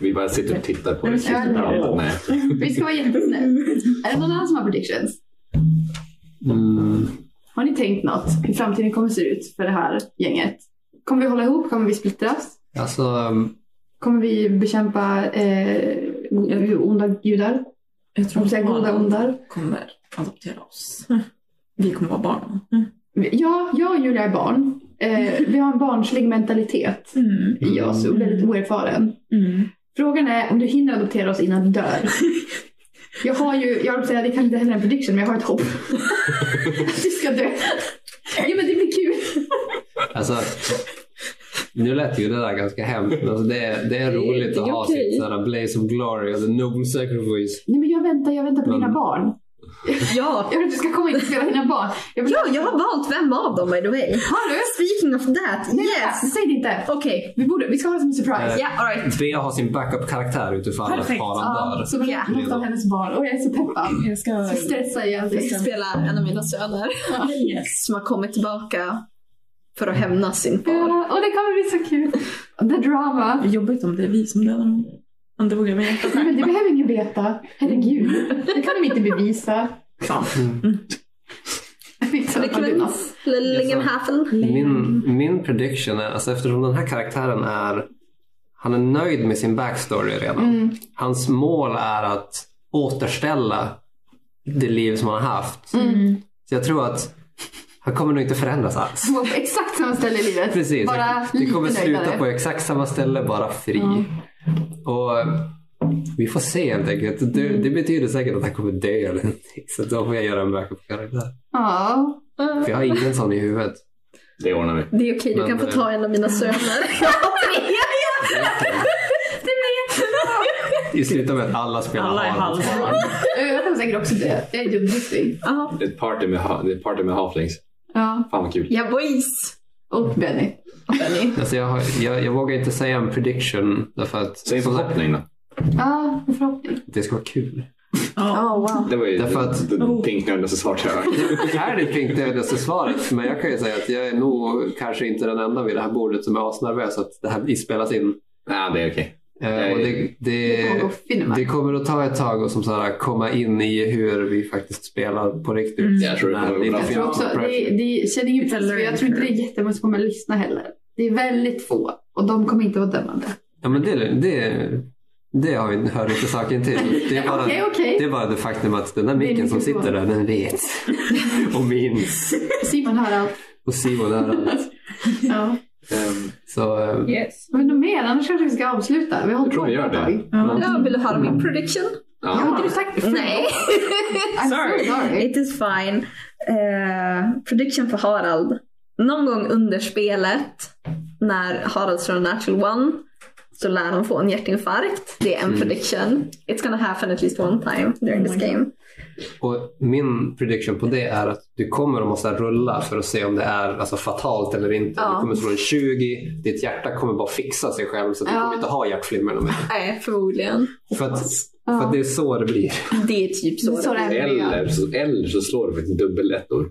S3: Vi bara sitter och tittar på det.
S1: Nej, men-
S3: Ja, nej.
S1: Vi ska vara jättesnäll. Är det någon annan som har predictions?
S4: Mm.
S1: Har ni tänkt något hur framtiden kommer se ut för det här gänget? Kommer vi hålla ihop? Kommer vi splittras?
S4: Alltså, um,
S1: Kommer vi bekämpa eh, go- onda gudar?
S2: Jag
S1: Om säger goda ondar?
S2: kommer adoptera oss. Vi kommer vara barn.
S1: Ja, jag och Julia är barn. Eh, vi har en barnslig mentalitet
S2: Mm.
S1: i oss och väldigt oerfaren.
S2: Mm.
S1: Frågan är om du hinner adoptera oss innan du dör. Jag har ju, jag vill säga det kanske inte heller är en prediction men jag har ett hopp. Att du ska dö. Ja men det blir kul.
S4: alltså, nu lät ju det där ganska hemskt men alltså det, är, det är roligt
S5: det är
S4: att ha
S5: okej.
S4: sitt sådana blaze of glory och the noble sacrifice.
S1: Nej men jag väntar, jag väntar på dina
S4: Men-
S1: barn.
S5: Ja.
S1: Jag vill att du ska komma in och spela dina barn. Jag vill,
S5: ja, jag har valt vem av dem by the way.
S1: Har du?
S5: Speaking of that,
S1: Nej,
S5: yes!
S1: yes. Säg det inte.
S5: Okej,
S1: Vi, borde, vi ska ha det som en surprise.
S4: Nej.
S5: yeah, alright.
S4: Bea har sin backup-karaktär utifall att
S2: Perfekt.
S4: faran
S1: Ja,
S4: dör.
S1: så vi
S5: Ja.
S1: måste ha hennes barn. Och jag är så peppad.
S2: Jag ska...
S1: Så stressar jag.
S5: Jag ska spela en av mina söner
S2: Yes.
S5: som har kommit tillbaka för att hämnas sin far.
S1: Ja, och det kommer bli så kul. The drama.
S2: Jobbigt om det är vi som dödar honom. Han dog av hjärtat.
S1: Nej, men det behöver ingen veta. Herregud. Det kan de inte bevisa. Så.
S4: Mm.
S5: Det kunde Lillingenhafen.
S4: Min, min prediction är, alltså eftersom den här karaktären är, han är nöjd med sin backstory redan.
S1: Mm.
S4: Hans mål är att återställa det liv som han har haft.
S1: Mm.
S4: Så jag tror att han kommer nog inte förändras alls.
S1: Så på exakt samma ställe i livet.
S4: Precis.
S1: Bara
S4: det kommer
S1: lite
S4: sluta
S1: nöjdare. Mm.
S4: på exakt samma ställe, bara fri. Och vi får se helt enkelt. Det,
S1: Mm.
S4: det betyder säkert att han kommer dö eller någonting. Så då får jag göra en backup-karaktär.
S1: Ja.
S4: För jag har ingen sån i huvudet.
S3: Det ordnar vi.
S5: Det är okej, du
S4: Men,
S5: kan få
S4: eh,
S5: ta en av mina söner. Jag har tre.
S4: I slutet med att alla spelar
S2: Alla är
S4: Harald.
S2: halvbarn.
S1: Eh, Jag kommer säkert också dö. Jag är dumdristig.
S5: Ja.
S3: Det är ett party med, ha- det är ett party med halflings.
S1: Ja.
S3: Fan vad kul.
S5: Ja boys!
S1: Och Benny.
S5: Benny.
S4: Alltså jag, har, jag, jag vågar inte säga en prediction därför att
S3: Säg en
S4: som sagt,
S3: förhoppning då.
S1: Ja, en förhoppning.
S4: det ska vara kul.
S2: Ja.
S5: Oh, wow.
S3: Det var ju
S4: Därför att-
S3: det, det
S2: Oh.
S3: pinknödigaste svaret jag har hört.
S4: Det här är det pinknödigaste svaret men jag kan ju säga att jag är nog kanske inte den enda vid det här bordet som är asnervös att det här spelas in.
S3: Nej, det är okej.
S4: Eh, och det,
S1: Det kommer
S4: det,
S1: gå finma.
S4: det kommer att ta ett tag att som så här, komma in i hur vi faktiskt spelar på riktigt.
S2: Mm.
S3: Jag tror det kommer gå bra.
S1: Jag tror också, det, det känner ju press för jag tror inte det är jättemånga som kommer att lyssna heller. Det är väldigt få och de kommer inte vara dömande.
S4: Ja, men det, det, det har vi, hör inte saken till. Det är bara,
S1: Okej, okej.
S4: det, är bara det faktum att den där micken som sitter där, den vet och minns.
S1: Simon hör allt.
S4: Och Simon hör allt.
S1: Ja.
S3: Ehm,
S4: Så eh,
S2: Yes.
S1: Men något mer? Annars kanske vi ska avsluta. Vi har hållit
S3: Jag tror
S1: på
S3: vi gör
S1: ett
S3: det.
S1: tag.
S5: Ja, vill du höra min prediction?
S1: Ja,
S3: ja.
S1: har du sagt det?
S5: Nej.
S1: I'm sorry.
S5: sorry.
S1: So sorry.
S5: It is fine. Eh, prediction för Harald. Någon gång under spelet, när Harald slår en natural one, så lär han få en hjärtinfarkt. Det är en prediction. It's gonna happen at least one time during
S1: Oh
S5: this game.
S4: Och min prediction på det är att du kommer att måste rulla för att se om det är alltså, fatalt eller inte.
S5: Ja.
S4: Du kommer slå en 20, ditt hjärta kommer bara fixa sig själv så att du
S1: Ja.
S4: kommer inte ha hjärtflimmer någon mer.
S5: Nej, förmodligen.
S4: För att,
S1: Ja.
S4: för att det är så det blir.
S5: Det är typ
S1: Det
S5: så.
S1: är så det är.
S3: Eller, så, eller så slår du faktiskt dubbelettor.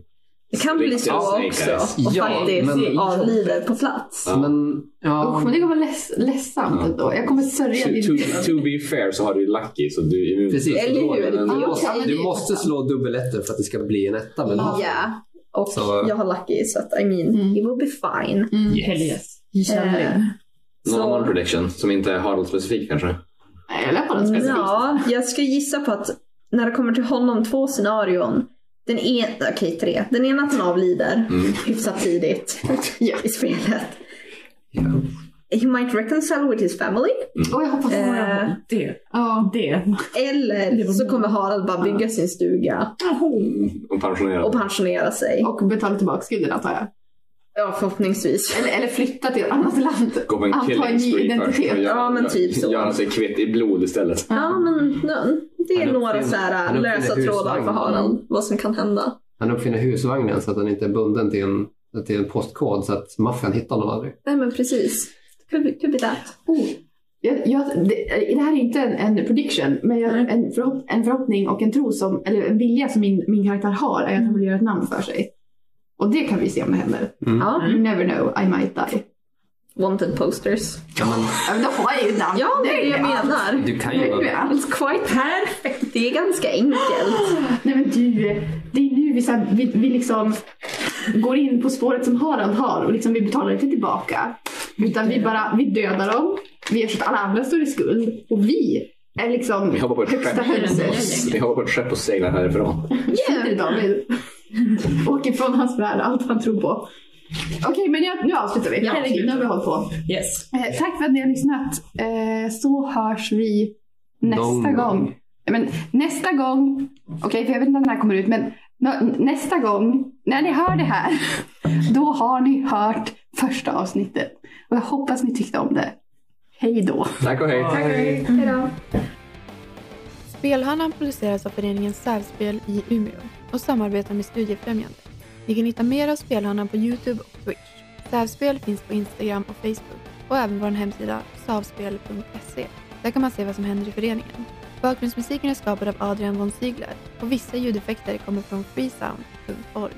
S5: Det kan bli
S3: Riktiga
S5: så
S3: snake
S5: också.
S3: eyes.
S5: Och
S4: Ja, men-
S5: faktiskt avlider på plats.
S3: Ja.
S4: Men, ja.
S1: Usch, men det kommer vara leds- ledsamt
S3: Ja.
S1: ändå. Jag kommer sörja
S3: To,
S1: din
S3: to,
S1: död.
S3: to be fair så har du ju Lucky så du är immun.
S4: Precis,
S5: Eller
S4: då-
S5: hur? Det är
S4: du,
S1: okej,
S4: måste,
S1: men det är
S4: du måste slå dubbeletter för att det ska bli en etta. Men
S5: Ja. Och
S4: Så-
S5: jag har lucky så att I mean,
S1: Mm.
S5: it will be fine.
S1: Mm.
S2: Hell yes. You shall
S5: Eh,
S2: live.
S3: Någon
S5: Så-
S3: annan prediction som inte är Harald specifik kanske?
S1: Nej, Jag lär på den specifikt.
S5: Ja, jag skulle gissa på att när det kommer till honom två scenarion. Den ena, okej tre. Den ena att han avlider
S3: Mm.
S5: hyfsat tidigt
S1: Ja.
S5: i spelet.
S4: Ja.
S5: He might reconcile with his family.
S1: Och jag hoppas
S5: Eh,
S1: det.
S2: Det.
S1: Ja.
S2: Det.
S5: Eller
S2: Det var
S5: så
S2: bra.
S5: kommer Harald bara bygga sin stuga
S3: Och
S5: och
S3: pensionerad.
S5: pensionera sig.
S1: Och betala tillbaka skulden antar jag.
S5: Ja, förhoppningsvis.
S1: Eller, eller flytta till ett annat land.
S3: Gå på en
S1: Anta en
S3: killing
S1: ny
S3: spree först.
S1: identitet.
S3: och göra-
S5: Ja, men typ så.
S3: Göra sig kvitt i blod istället.
S5: Ja, men no, det är
S4: Han
S5: några
S4: uppfinner-
S5: så här
S4: han uppfinner
S5: lösa trådar för
S4: husvagn.
S5: Harald. Vad som kan hända.
S4: Han uppfinner husvagnen så att den inte är bunden till en, till en postkod så att maffian hittar honom aldrig.
S5: Nej, men precis. Could be, could be that.
S1: Oh. Jag, jag, det, det här är inte en, en prediction, men jag,
S2: Nej.
S1: en, förhopp, en förhoppning och en tro, som, eller en vilja som min, min karaktär har är att
S5: Mm.
S1: han vill göra ett namn för sig. Och det kan vi se om det händer.
S4: Mm.
S5: Ja.
S1: You never know, I might die.
S5: Wanted posters.
S4: Ja, men,
S1: Ja, men då har jag ju ett namn.
S5: Ja, det är det
S1: ju
S5: jag
S1: allt.
S5: menar.
S4: du kan
S1: Det
S4: ju
S1: är ju
S4: vara
S1: allt.
S5: It's quite perfect. Det är ganska enkelt.
S1: Nej men du, det är nu vi, så här, vi, vi liksom går in på spåret som Harald har och liksom vi betalar inte tillbaka. Utan vi bara, vi dödar dem, vi gör så att alla andra står i skuld och vi är liksom
S3: Vi hoppar på ett
S1: högsta
S3: skepp.
S1: hönset.
S3: Vi hoppar på ett skepp och seglar härifrån.
S1: Skiter i David. Åker från hans värld, allt han tror på. Okej, men jag, nu avslutar vi.
S2: Ja,
S1: Herregud, nu har vi hållit på.
S2: Yes.
S1: Eh, tack för att ni har lyssnat. Eh, så hörs vi nästa
S4: Någon gång.
S1: gång. Nej, Men, nästa gång, okej för jag vet inte när den här kommer ut, men nå- nästa gång när ni hör det här, då har ni hört första avsnittet. Och jag hoppas ni tyckte om det. Hej då!
S3: Tack och hej.
S5: Hejdå.
S6: Spelhörnan produceras av föreningen Särspel i Umeå och samarbetar med Studiefrämjandet. Ni kan hitta mer av Spelhörnan på Youtube och Twitch. Särspel finns på Instagram och Facebook och även vår hemsida savspel.se. Där kan man se vad som händer i föreningen. Bakgrundsmusiken är skapad av Adrian von Ziegler och vissa ljudeffekter kommer från freesound.org.